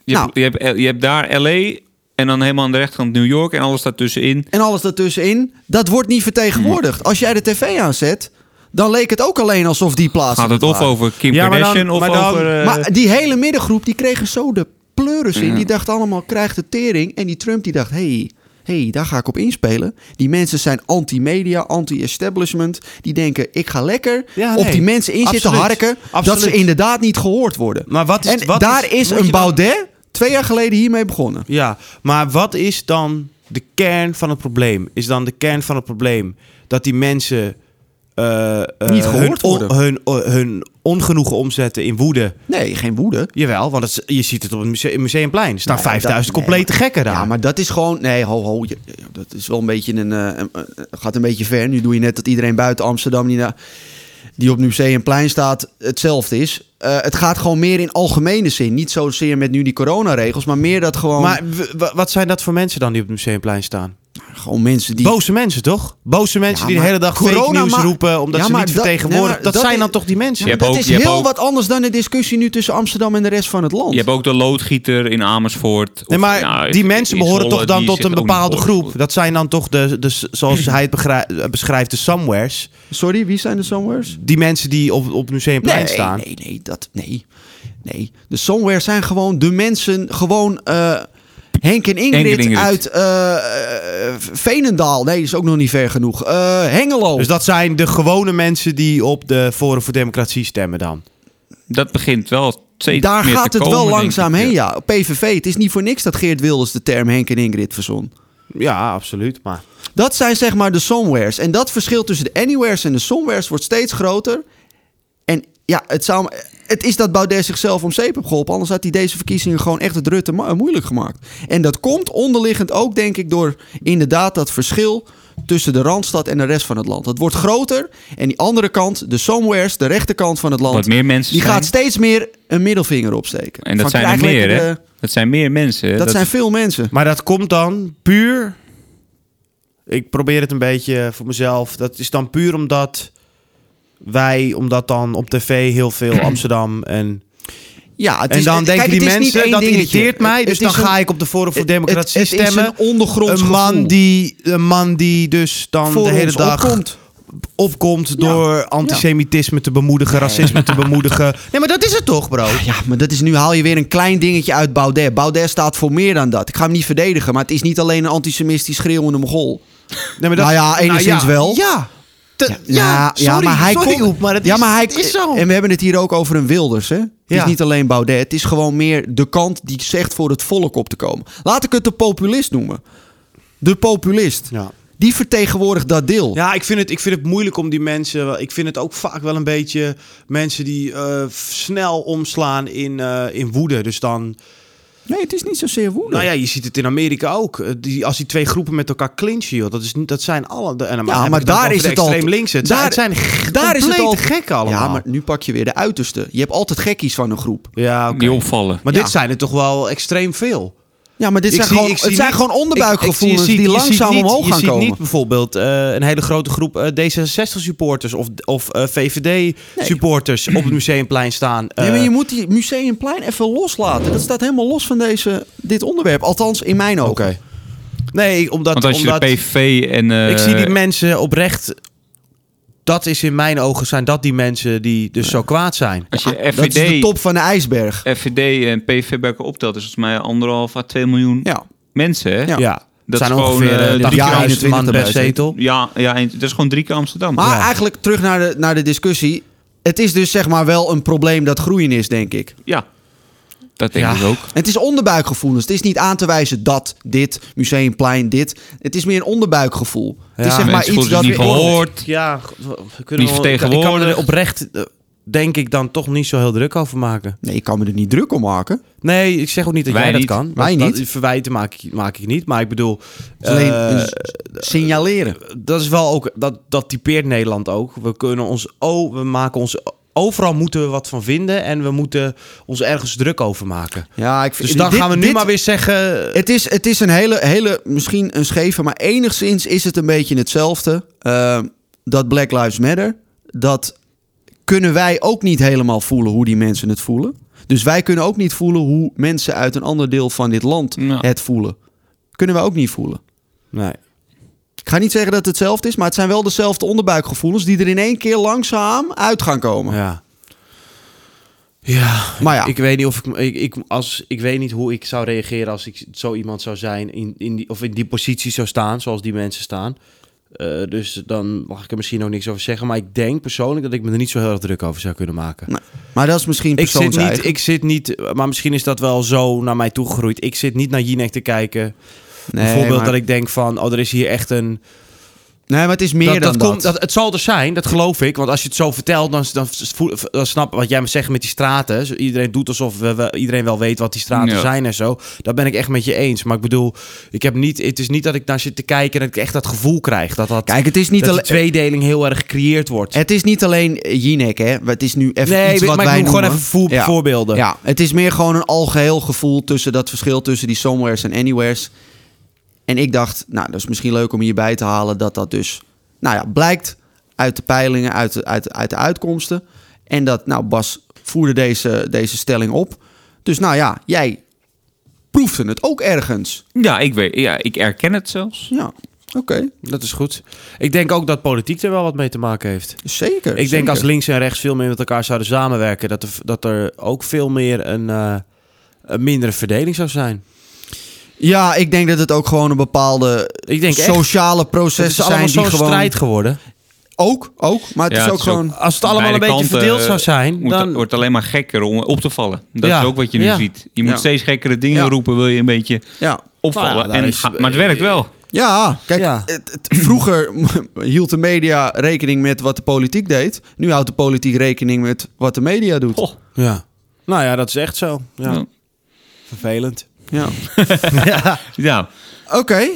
S4: Je,
S3: Nou.
S4: hebt, je, hebt, je hebt daar L.A. en dan helemaal aan de rechterkant New York en alles daartussenin.
S3: En alles daartussenin, dat wordt niet vertegenwoordigd.
S4: Hmm.
S3: Als jij de tv aanzet, dan leek het ook alleen alsof die plaats.
S4: Gaat het of over Kim
S2: Ja, maar dan-
S4: Kardashian of
S2: maar dan-
S4: over... eh,
S3: Maar die hele middengroep, die kregen zo de pleuris
S2: Mhm.
S3: in. Die dachten allemaal, krijgt de tering. En die Trump, die dacht, hey, hey, daar ga ik op inspelen. Die mensen zijn anti-media, anti-establishment. Die denken, ik ga lekker
S2: Ja,
S3: op
S2: nee.
S3: die mensen in zitten
S2: Absoluut.
S3: harken...
S2: Absoluut.
S3: dat ze inderdaad niet gehoord worden.
S2: Maar wat is-
S3: en
S2: wat
S3: daar
S2: is-
S3: is,
S2: moet je
S3: een
S2: dan-
S3: Baudet twee jaar geleden hiermee begonnen.
S2: Ja, maar wat is dan de kern van het probleem? Is dan de kern van het probleem dat die mensen eh, eh,
S3: Niet
S2: hun,
S3: gehoord
S2: on-
S3: worden.
S2: hun, o- hun ongenoegen omzetten in woede?
S3: Nee, geen woede.
S2: Jawel, want het, is- je ziet het op het muse- museumplein. Er staan
S3: Nee,
S2: 5000
S3: dat- nee,
S2: complete
S3: maar-
S2: gekken daar.
S3: Ja, maar dat is gewoon... Nee, ho, ho. je- dat is wel een beetje een... eh, een- een- gaat een beetje ver. Nu doe je net dat iedereen buiten Amsterdam... die, na, die op Museumplein staat, hetzelfde is. Eh, het gaat gewoon meer in algemene zin. Niet zozeer met nu die coronaregels... maar meer dat gewoon...
S2: Maar w- w- wat zijn dat voor mensen dan die op het museumplein staan?
S3: gewoon mensen die...
S2: Boze mensen, toch? Boze mensen
S3: Ja,
S2: die de
S3: maar
S2: hele dag fake
S3: corona
S2: nieuws
S3: ma-
S2: roepen omdat
S3: Ja,
S2: ze
S3: maar
S2: niet
S3: dat-
S2: vertegenwoordigd.
S3: nee, maar
S2: dat,
S3: dat
S2: zijn
S3: is-
S2: dan toch die mensen?
S4: Je
S3: Ja,
S4: hebt
S3: dat
S4: ook-
S3: is
S4: je hebt
S3: heel
S4: ook-
S3: wat anders dan de discussie nu tussen Amsterdam en de rest van het land.
S4: Je hebt ook de loodgieter in Amersfoort. of,
S2: Nee, maar
S4: nou,
S2: die
S4: in-
S2: mensen
S4: in
S2: behoren
S4: Zwolle,
S2: toch dan
S4: die
S2: tot
S4: zich
S2: een
S4: ook niet
S2: bepaalde
S4: gehoord
S2: groep. Dat zijn dan toch de, de zoals hij het begrij- eh, beschrijft, de somewheres.
S3: Sorry, wie zijn de somewheres?
S2: Die mensen die op, op het museumplein
S3: Nee,
S2: staan.
S3: nee, nee, dat, nee, nee. De somewhere zijn gewoon de mensen, gewoon eh, Henk en Ingrid,
S4: Henk en Ingrid.
S3: uit eh, eh, Veenendaal. Nee, is ook nog niet ver genoeg. Eh, Hengelo.
S2: Dus dat zijn de gewone mensen die op de Forum voor Democratie stemmen dan.
S4: Dat begint wel steeds
S3: Daar
S4: meer
S3: gaat
S4: te
S3: het
S4: komen,
S3: wel
S4: denk
S3: langzaam
S4: ik.
S3: heen, ja. PVV, het is niet voor niks dat Geert Wilders de term Henk en Ingrid verzon.
S2: Ja, absoluut. Maar
S3: Dat zijn zeg maar de somewheres. En dat verschil tussen de anywheres en de somewheres wordt steeds groter. En ja, het, zou, het is dat Baudet zichzelf om zeep heeft geholpen. Anders had hij deze verkiezingen gewoon echt het Rutte ma- moeilijk gemaakt. En dat komt onderliggend ook, denk ik, door inderdaad dat verschil tussen de Randstad en de rest van het land. Dat wordt groter. En die andere kant, de somewheres, de rechterkant van het land...
S4: Wat meer mensen
S3: die
S4: zijn.
S3: gaat steeds meer een middelvinger opsteken.
S4: En dat
S3: Van,
S4: zijn er
S3: krijg
S4: meer,
S3: lekker
S4: hè?
S3: de-
S4: Dat zijn meer mensen. hè?
S3: dat zijn veel mensen.
S2: Maar dat komt dan puur Ik probeer het een beetje voor mezelf. Dat is dan puur omdat wij, omdat dan op tv heel veel Amsterdam en...
S3: Ja, het
S2: En
S3: is,
S2: dan
S3: het-
S2: denken
S3: kijk,
S2: die
S3: het is niet
S2: mensen,
S3: één
S2: dat
S3: dingetje.
S2: irriteert mij.
S3: Het-
S2: Dus
S3: het
S2: dan
S3: is
S2: ga
S3: een-
S2: ik op de Forum voor
S3: het-
S2: Democratie
S3: het- het is
S2: stemmen.
S3: een ondergronds
S2: Een man,
S3: gevoel.
S2: die, een man die dus dan
S3: Voor
S2: de hele
S3: ons
S2: dag
S3: opkomt.
S2: opkomt door antisemitisme te bemoedigen, racisme te bemoedigen. Nee, maar dat is het toch, bro?
S3: Ja, maar dat is nu haal je weer een klein dingetje uit Baudet. Baudet staat voor meer dan dat. Ik ga hem niet verdedigen, maar het is niet alleen een antisemitisch schreeuwende mogol.
S2: Nee, maar
S3: Nou ja, enigszins
S2: ja,
S3: wel.
S2: Ja. Te- ja, sorry, sorry,
S3: kon-
S2: Oep, maar het
S3: ja,
S2: is,
S3: maar hij-
S2: het is zo.
S3: En we hebben het hier ook over een Wilders, hè? Het
S2: Ja.
S3: is niet alleen Baudet. Het is gewoon meer de kant die zegt voor het volk op te komen. Laat ik het de populist noemen. De populist.
S2: Ja.
S3: Die vertegenwoordigt dat deel.
S2: Ja, ik vind, het, ik vind het moeilijk om die mensen. wel- Ik vind het ook vaak wel een beetje mensen die eh, f- snel omslaan in, eh, in woede. Dus dan.
S3: Nee, het is niet zozeer woede.
S2: Nou ja, je ziet het in Amerika ook. Eh, Die, als die twee groepen met elkaar clinchen, joh, dat, is, niet- dat zijn alle. De, en dan
S3: Ja,
S2: heb ik
S3: maar
S2: dan
S3: daar
S2: over
S3: is
S2: de
S3: het al.
S2: extreem links. Het,
S3: daar,
S2: zijn- het zijn g- compleet gek allemaal.
S3: Ja, maar nu pak je weer de uiterste. Je hebt altijd gekkies van een groep.
S2: Ja, oké.
S4: Die opvallen.
S2: Maar
S3: Ja.
S2: dit zijn er toch wel extreem veel.
S3: Ja, maar dit
S2: Ik
S3: zijn,
S2: zie-
S3: gewoon,
S2: ik zie
S3: het zijn
S2: niet-
S3: gewoon onderbuikgevoelens
S2: ik- ik zie- je
S3: die
S2: ziet- je
S3: langzaam
S2: ziet niet-
S3: omhoog gaan
S2: Je ziet
S3: komen.
S2: niet bijvoorbeeld eh, een hele grote groep D66-supporters of, of eh, VVD-supporters op het Museumplein staan.
S3: nee, maar
S2: Eh,
S3: je moet die museumplein even loslaten. Dat staat helemaal los van deze, dit onderwerp. Althans, in mijn ogen.
S2: Oké. Nee, omdat,
S4: Want als je
S2: omdat
S4: de PV en... eh,
S2: ik zie die mensen oprecht. Dat is in mijn ogen zijn dat die mensen die dus zo kwaad zijn.
S4: Als je
S3: Ah, Dat is de
S4: FVD,
S3: top van de ijsberg.
S4: FVD en PV bij elkaar optelt, is volgens mij anderhalf à twee miljoen
S3: Ja.
S4: mensen. Hè?
S3: Ja.
S2: Ja, dat
S4: Dat
S2: zijn
S4: is gewoon,
S2: ongeveer
S4: eh,
S2: eh,
S4: de
S2: 80.000
S3: jaar 21
S2: man per
S3: erbij zitten.
S2: zetel.
S4: Ja, ja, en dat is gewoon drie keer Amsterdam.
S3: Maar
S4: ja.
S3: eigenlijk terug naar de, naar de discussie. Het is dus zeg maar wel een probleem dat groeien is, denk ik.
S4: Ja. dat denk
S2: Ja.
S4: ik ook.
S3: Het is onderbuikgevoelens. Het is niet aan te wijzen dat, dit, museumplein, dit. Het is meer een onderbuikgevoel. het is
S2: Ja,
S3: zeg maar
S4: mensen
S3: iets dat...
S4: voelen zich
S3: weer-
S4: niet gehoord.
S2: Ja, g- we kunnen
S4: Niet
S2: wel- ik kan- ik kan me er
S4: vertegenwoordigd.
S2: oprecht eh, denk ik dan toch niet zo heel druk over maken.
S3: Nee, ik kan me er niet druk om maken.
S2: Nee, ik zeg ook niet dat
S4: Wij
S2: jij
S4: niet.
S2: dat kan.
S3: Wij
S2: Dat-
S3: niet.
S2: Dat, verwijten maak ik, maak ik niet, maar ik bedoel...
S3: Het is alleen
S2: eh,
S3: een s- signaleren.
S2: dat is wel ook, dat, dat typeert Nederland ook. We kunnen ons, oh, we maken ons, overal moeten we wat van vinden en we moeten ons ergens druk over maken.
S3: Ja, ik vind,
S2: Dus dan
S3: dit-
S2: gaan we nu
S3: dit-
S2: maar weer zeggen,
S3: Het is, het is een hele, hele, misschien een scheve, maar enigszins is het een beetje hetzelfde. eh, dat Black Lives Matter, dat kunnen wij ook niet helemaal voelen hoe die mensen het voelen. Dus wij kunnen ook niet voelen hoe mensen uit een ander deel van dit land
S4: Ja.
S3: het voelen. Kunnen we ook niet voelen.
S2: nee.
S3: Ik ga niet zeggen dat het hetzelfde is, maar het zijn wel dezelfde onderbuikgevoelens die er in één keer langzaam uit gaan komen.
S2: Ja. Ja,
S3: Maar ja.
S2: ik weet niet of ik, ik, ik, als, ik weet niet hoe ik zou reageren als ik zo iemand zou zijn in, in die, of in die positie zou staan, zoals die mensen staan. Eh, dus dan mag ik er misschien ook niks over zeggen. Maar ik denk persoonlijk dat ik me er niet zo heel erg druk over zou kunnen maken.
S3: Nee. Maar dat is misschien
S2: ik, zit niet,
S3: persoonseigen.
S2: ik zit niet, maar misschien is dat wel zo naar mij toegegroeid. Ik zit niet naar Jinek te kijken.
S3: Nee,
S2: Bijvoorbeeld
S3: maar-
S2: dat ik denk van, oh, er is hier echt een...
S3: Nee, maar het is meer
S2: Dat,
S3: dan
S2: dat komt, dat, het zal er zijn, dat geloof ik. Want als je het zo vertelt, dan, dan, voel- dan snap wat jij me zegt met die straten. Zo, Iedereen doet alsof we, we- iedereen wel weet wat die straten
S4: Ja.
S2: zijn en zo. Dat ben ik echt met je eens. Maar ik bedoel, ik heb niet, het is niet dat ik naar zit te kijken en dat ik echt dat gevoel krijg. Dat, dat,
S3: Kijk, het is niet
S2: dat die
S3: alleen...
S2: tweedeling heel erg gecreëerd wordt.
S3: Het is niet alleen eh, Jinek, hè. Het is nu even
S2: Nee,
S3: iets
S2: maar
S3: wat
S2: ik
S3: wij
S2: noem gewoon
S3: noemen.
S2: even voer- voorbeelden.
S3: Ja, het is meer gewoon een algeheel gevoel tussen dat verschil tussen die somewheres en anywheres. En ik dacht, nou, dat is misschien leuk om hierbij te halen dat dat dus, nou ja, blijkt uit de peilingen, uit de, uit, uit de uitkomsten. En dat, nou, Bas voerde deze, deze stelling op. Dus nou ja, jij proefde het ook ergens.
S4: Ja, ik, weet, ja, ik erken het zelfs.
S3: Ja, oké,
S2: Dat is goed. Ik denk ook dat politiek er wel wat mee te maken heeft.
S3: zeker.
S2: Ik denk
S3: zeker.
S2: als links en rechts veel meer met elkaar zouden samenwerken, dat er, dat er ook veel meer een, eh, een mindere verdeling zou zijn.
S3: Ja, ik denk dat het ook gewoon een bepaalde
S2: Ik denk echt.
S3: sociale
S2: Het is
S3: processen zijn
S2: allemaal
S3: die
S2: zo'n
S3: gewoon...
S2: strijd geworden.
S3: Ook, ook. Maar het
S4: Ja,
S3: is ook
S4: het is ook-
S3: gewoon...
S2: Als het allemaal een
S4: Beide
S2: beetje
S4: kanten,
S2: verdeeld
S4: eh,
S2: zou zijn,
S4: moet-
S2: dan...
S4: wordt alleen maar gekker om op te vallen. Dat
S2: Ja.
S4: is ook wat je nu
S2: Ja.
S4: ziet. Je moet
S3: Ja.
S4: steeds gekkere dingen
S3: Ja.
S4: roepen, wil je een beetje
S3: Ja,
S4: opvallen.
S2: Nou ja, daar
S4: en,
S2: is-
S4: ga- maar het werkt wel.
S3: ja kijk,
S2: Ja.
S3: Het, het- vroeger hield de media rekening met wat de politiek deed. Nu houdt de politiek rekening met wat de media doet.
S2: Oh.
S4: Goh.
S2: Ja. Nou ja, dat is echt zo. Ja.
S4: Ja.
S2: Vervelend.
S3: Ja.
S4: Ja.
S3: Oké.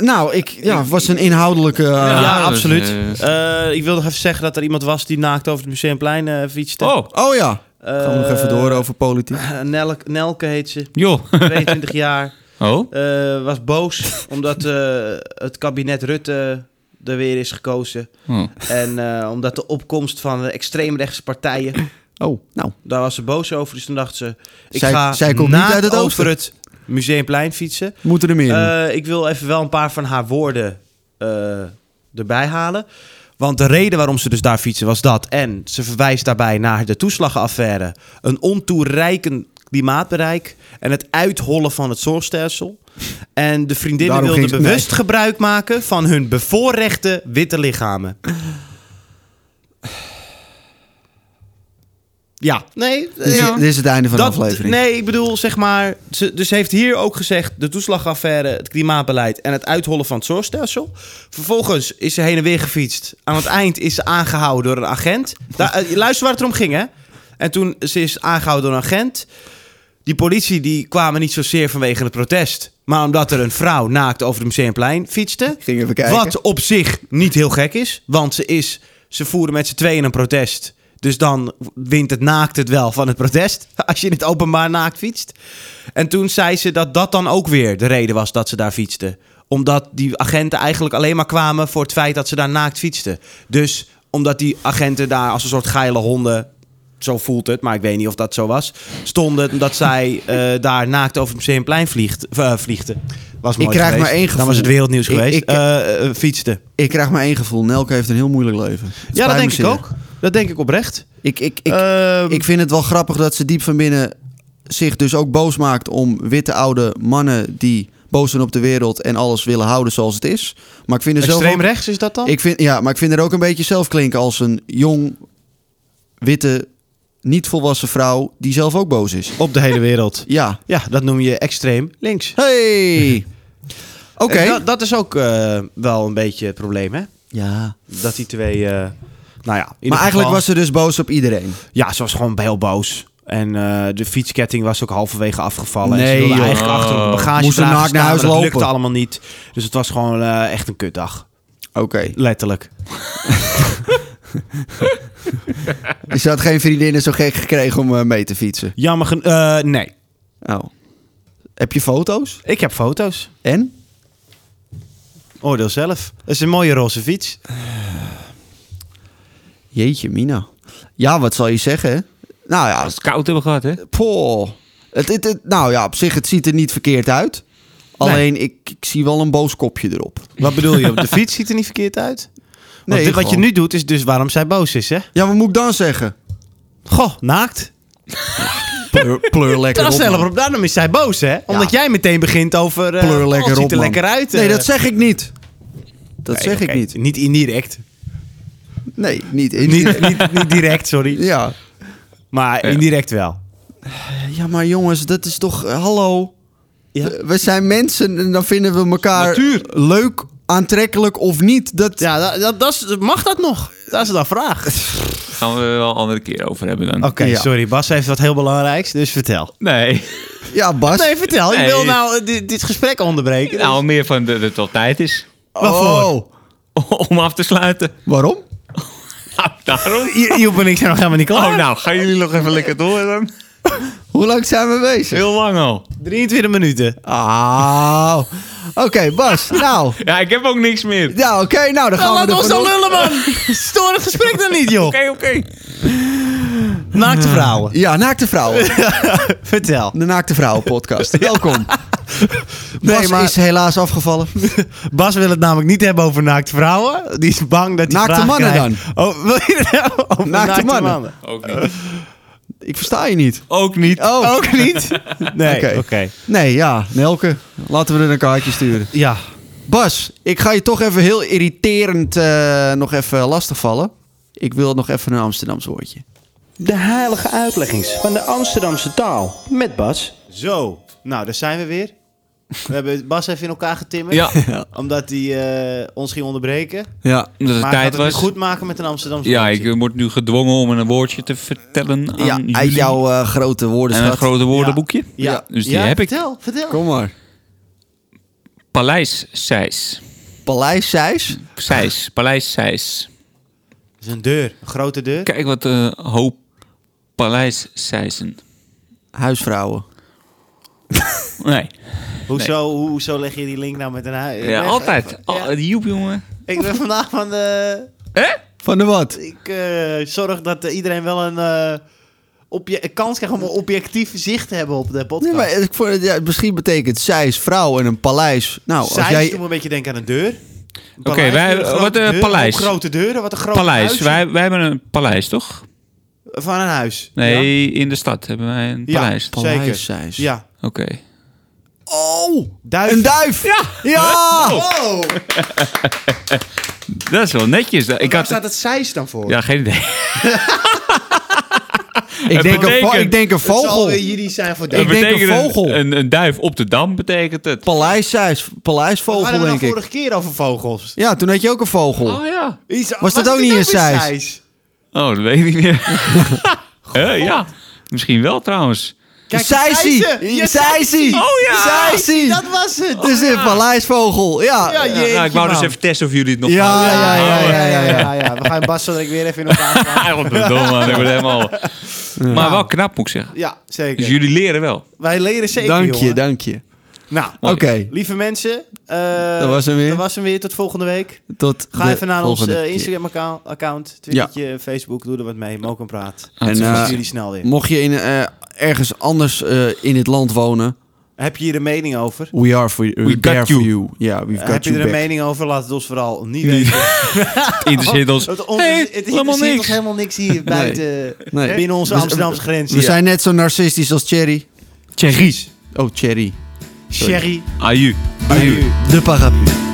S3: Nou, ik, ja, het was een inhoudelijke...
S2: Ja,
S4: Ja, dat is,
S2: absoluut.
S4: eh,
S2: Eh, ik wilde nog even zeggen dat er iemand was die naakt over het Museumplein eh fietste.
S4: Oh,
S3: Oh ja, gaan we nog
S2: Eh,
S3: even door over politiek.
S2: Nelke, Nelke heet ze,
S4: joh.
S2: 22 jaar.
S4: Oh?
S2: eh, was boos omdat eh, het kabinet Rutte er weer is gekozen.
S4: Oh.
S2: En eh, omdat de opkomst van de extreemrechtse partijen,
S3: Oh, nou.
S2: daar was ze boos over. Dus toen dacht ze, ik
S3: Zij-
S2: ga
S3: zij komt
S2: naakt
S3: niet uit het oosten.
S2: over het Museumplein fietsen.
S3: Moeten er meer in.
S2: Eh, ik wil even wel een paar van haar woorden eh, erbij halen. Want de reden waarom ze dus daar fietsen was dat. En ze verwijst daarbij naar de toeslagaffaire. Een ontoereikend klimaatbereik. En het uithollen van het zorgstelsel. En de vriendinnen
S3: Daarom
S2: wilden
S3: ging ze-
S2: bewust gebruik maken van hun bevoorrechte witte lichamen. Ja, nee.
S3: dit, is,
S2: ja.
S3: dit is het einde van
S2: Dat-
S3: de aflevering.
S2: Nee, ik bedoel, zeg maar. Ze, dus ze heeft hier ook gezegd: de toeslagaffaire, het klimaatbeleid en het uithollen van het zorgstelsel. Vervolgens is ze heen en weer gefietst. Aan het eind is ze aangehouden door een agent. Daar, eh, luister waar het om ging, hè? En toen ze is aangehouden door een agent. Die politie die kwamen niet zozeer vanwege het protest. Maar omdat er een vrouw naakt over het museumplein fietste.
S3: Ging even kijken.
S2: Wat op zich niet heel gek is. Want ze, is, ze voeren met z'n tweeën een protest. Dus dan wint het naakt het wel van het protest. Als je in het openbaar naakt fietst. En toen zei ze dat dat dan ook weer de reden was dat ze daar fietsten. Omdat die agenten eigenlijk alleen maar kwamen voor het feit dat ze daar naakt fietsten. Dus omdat die agenten daar als een soort geile honden zo voelt het, maar ik weet niet of dat zo was. Stonden dat zij eh, daar naakt over het museumplein vliegt, eh, vliegten. Was mooi
S3: Ik krijg
S2: geweest.
S3: maar één gevoel.
S2: Dan was het wereldnieuws
S3: Ik-
S2: geweest.
S3: ik-
S2: Eh, eh, fietsten.
S3: Ik krijg maar één gevoel. Nelke heeft een heel moeilijk leven. Het
S2: Ja,
S3: spijt
S2: dat
S3: me
S2: denk ik
S3: zeer.
S2: ook. Dat denk ik oprecht.
S3: Ik, ik, ik,
S2: Ehm,
S3: ik vind het wel grappig dat ze diep van binnen zich dus ook boos maakt om witte oude mannen die boos zijn op de wereld en alles willen houden zoals het is. Maar ik vind er zelf
S2: Extreem
S3: ook-
S2: rechts is dat dan?
S3: Ik vind, ja, maar ik vind er ook een beetje zelf klinken als een jong, witte, niet volwassen vrouw die zelf ook boos is.
S2: Op de hele wereld.
S3: Ja.
S2: Ja, dat noem je extreem links.
S3: Hey! Oké.
S2: En Eh, dat, dat is ook eh, wel een beetje het probleem, hè?
S3: Ja.
S2: Dat die twee... eh, nou ja, in ieder
S3: Maar eigenlijk
S2: geval-
S3: was ze dus boos op iedereen.
S2: Ja, ze was gewoon heel boos. En eh, de fietsketting was ook halverwege afgevallen. en
S3: Nee,
S2: ze wilde
S3: joh.
S2: eigenlijk achter op de bagage
S3: Moest ze
S2: dragen
S3: naakt naar
S2: staan,
S3: huis
S2: maar
S3: lopen.
S2: Dat lukte allemaal niet. Dus het was gewoon eh, echt een kutdag.
S3: Oké.
S2: Letterlijk.
S3: Dus ze had geen vriendinnen zo gek gekregen om eh, mee te fietsen.
S2: Jammer gen- eh, Nee.
S3: Oh. Heb je foto's?
S2: Ik heb foto's.
S3: En?
S2: Oordeel zelf. Het is een mooie roze fiets.
S3: Jeetje, Mina. Ja, wat zal je zeggen? hè? Nou ja,
S4: Als het koud hebben gehad, hè?
S3: poh. Het, het, het- nou ja, op zich, het ziet er niet verkeerd uit. Alleen, ik, ik zie wel een boos kopje erop.
S2: Wat bedoel je? De fiets ziet er niet verkeerd uit. Want
S3: Nee,
S2: dit, wat je
S3: gewoon-
S2: nu doet is dus waarom zij boos is, hè?
S3: Ja, wat moet ik dan zeggen?
S2: Goh, naakt.
S3: Pleur, pleur lekker
S2: Dat
S3: op.
S2: is
S3: man.
S2: helemaal op. Daarom is zij boos, hè? Omdat jij meteen begint over... eh,
S3: Pleur
S2: oh,
S3: lekker
S2: het
S3: op,
S2: ziet er
S3: man.
S2: lekker uit.
S3: Nee,
S2: eh.
S3: dat zeg ik niet. Dat
S2: Nee,
S3: zeg ik
S2: oké.
S3: niet.
S2: Niet indirect.
S3: Nee, niet.
S2: niet, niet, niet direct, sorry.
S3: Ja.
S2: Maar indirect wel.
S3: ja, maar jongens, dat is toch... eh, hallo.
S2: Ja.
S3: We- We zijn mensen en dan vinden we elkaar
S2: Natuur.
S3: leuk, aantrekkelijk of niet. Dat,
S2: Ja, dat, dat, dat is- mag dat nog? Dat is dan vraag. Oké,
S4: Gaan we er wel een andere keer over hebben dan.
S3: Ja.
S2: sorry. Bas heeft wat heel belangrijks, dus vertel.
S4: Nee.
S3: ja, Bas.
S2: Nee, vertel. Je
S4: Nee.
S2: wil nou eh, dit, dit gesprek onderbreken.
S4: Nou, meer van dat het al tijd is
S3: oh,
S4: om af te sluiten.
S3: waarom?
S4: Nou, daarom.
S2: I- Joep en ik zijn nog helemaal niet klaar.
S4: Oh, nou, gaan jullie nog even lekker door dan?
S3: Hoe lang zijn we bezig?
S4: Heel lang al.
S2: 23 minuten.
S3: Ah. Oké, Bas. Nou.
S4: Ja, ik heb ook niks meer. Oké,
S3: Ja, oké. nou, dan gaan we
S2: laat
S3: er
S2: ons dan
S3: vanaf.
S2: lullen, man. Stoor het gesprek dan niet, joh.
S4: oké.
S2: Naakte vrouwen.
S3: Ja, Naakte Vrouwen.
S2: Vertel.
S3: De Naakte Vrouwen podcast. Welkom. Nee,
S2: Bas
S3: maar...
S2: is
S3: is helaas afgevallen.
S2: Bas wil het namelijk niet hebben over naakte vrouwen. Die is bang dat hij
S3: Naakte
S2: vragen
S3: mannen
S2: krijgt. Oh, wil je het hebben over
S3: Naakte
S2: naakte,
S3: mannen.
S2: mannen?
S4: Ook niet.
S3: Ik versta je niet.
S4: Ook niet.
S3: Oh,
S2: Ook niet? Nee, oké.
S3: Oké. nee, ja. Nelke, laten we er een kaartje sturen.
S2: Ja.
S3: Bas, ik ga je toch even heel irriterend eh, nog even lastigvallen. Ik wil nog even een Amsterdams woordje.
S2: De heilige uitleggings van de Amsterdamse taal met Bas. Zo, nou daar zijn we weer. We hebben Bas even in elkaar getimmerd.
S4: Ja.
S2: Omdat hij eh, ons ging onderbreken.
S3: Ja.
S4: Omdat het
S2: Maar hij
S4: tijd
S2: gaat het
S4: was.
S2: weer goed maken met een Amsterdamse
S4: Ja,
S2: woordje.
S4: ik eh, word nu gedwongen om een woordje te vertellen aan
S3: Ja,
S4: jullie.
S3: uit jouw eh, grote
S4: en
S3: woordenschat.
S4: een grote woordenboekje.
S2: Ja.
S4: Dus die
S2: Ja,
S4: heb ik.
S2: Vertel, vertel.
S3: Kom maar.
S4: Paleis Seis.
S3: Paleis Zeis.
S4: Seis. Paleis Seis.
S2: Dat is een deur, een grote deur.
S4: Kijk wat een hoop Paleis Seizen.
S3: Huisvrouwen.
S4: Nee.
S2: Hoezo, hoezo leg je die link nou met een huis? Ik
S4: Ja,
S2: ben-
S4: altijd. Al, die Joep, jongen.
S2: Ik ben vandaag van de...
S4: Hè?
S3: Van de wat?
S2: Ik eh, zorg dat eh, iedereen wel een eh, obje- een kans krijgt om een objectief zicht te hebben op de podcast.
S3: Nee, maar ik vond het- ja, misschien betekent zij is vrouw en een paleis. Nou, als
S2: Zij
S3: jij...
S2: doen een beetje denken aan een deur. Een
S4: Oké,
S2: paleis,
S4: wij-
S2: een grote
S4: wat, eh,
S2: deur,
S4: paleis.
S2: Hoe grote deuren, wat een groot
S4: Paleis.
S2: huisje
S4: Wij, wij hebben een paleis, toch?
S2: Van een huis. Ja.
S4: Nee, in de stad hebben wij een
S2: Ja,
S4: paleis.
S3: Paleis,
S2: zeker.
S3: zij is.
S2: Ja.
S4: Oké.
S3: Oh,
S2: Duif.
S3: een duif! Ja! Ja!
S2: Wow.
S4: Dat is wel netjes. Ik
S2: Waar
S4: had...
S2: staat het zeis dan voor?
S4: Ja, geen idee.
S3: Ik, denk een, vo-
S4: betekent-
S3: ik denk een
S2: Het zal
S3: vogel.
S2: weer jullie zijn voor
S3: Ik
S2: duif.
S3: denk een vogel.
S4: Een, een duif op de dam betekent het.
S3: Paleiszuis,
S2: We hadden
S3: paleisvogel
S2: het nou
S3: denk ik.
S2: vorige keer over vogels.
S3: Ja, toen had je ook een vogel.
S4: Oh ja.
S2: Is-
S3: Was dat ook niet een zeis?
S4: Oh, dat weet ik niet meer. Eh, ja, misschien wel trouwens.
S2: Kijk,
S3: Seisie!
S2: Seisie! Ja,
S3: Seisie!
S4: Oh ja!
S3: Seisie!
S2: Dat was het.
S3: Het is een paleisvogel, ja.
S2: Ja,
S3: Ja,
S2: jeetje,
S4: nou, ik wou dus
S2: man.
S4: even testen of jullie het nog
S3: ja, ja, ja. ja, ja, ja.
S2: Dus- ja, ja. We gaan Bas zo direct weer even in elkaar slaan.
S4: Ah, wat bedoel, man. Ik word helemaal... Maar wel knap, moet ik zeggen.
S2: Ja,
S4: Dus
S2: zeker.
S4: jullie leren wel.
S2: Wij leren zeker,
S3: Dank je,
S2: jongen.
S3: dank je.
S2: Nou,
S3: Oké,
S2: lieve mensen. eh,
S3: Dat was hem weer.
S2: Dat was hem weer. Tot volgende week.
S3: tot
S2: Ga
S3: de
S2: even naar ons
S3: volgende
S2: eh,
S3: keer.
S2: Instagram-account, Twittertje, Facebook. Doe er wat mee. Moken praat.
S3: En,
S2: En
S3: eh,
S2: jullie snel weer.
S3: Mocht je in, eh, ergens anders eh, in het land wonen,
S2: Heb je hier een mening over?
S3: we are for you.
S4: got
S3: there
S4: you.
S3: for you. Ja, we've got
S2: Eh, Heb je
S3: you
S2: er een
S3: back.
S2: mening over? Laat het ons vooral niet weten.
S4: Interesseert ons.
S2: Het,
S4: Nee,
S2: het interesseert
S4: helemaal
S2: ons
S4: niks.
S2: helemaal niks hier buiten,
S3: Nee.
S2: binnen onze
S3: We-
S2: Amsterdamse grens.
S3: We zijn net zo narcistisch als Thierry.
S4: Tjegries.
S3: Oh, Thierry.
S2: Sherry.
S4: Aju.
S3: De paraplu.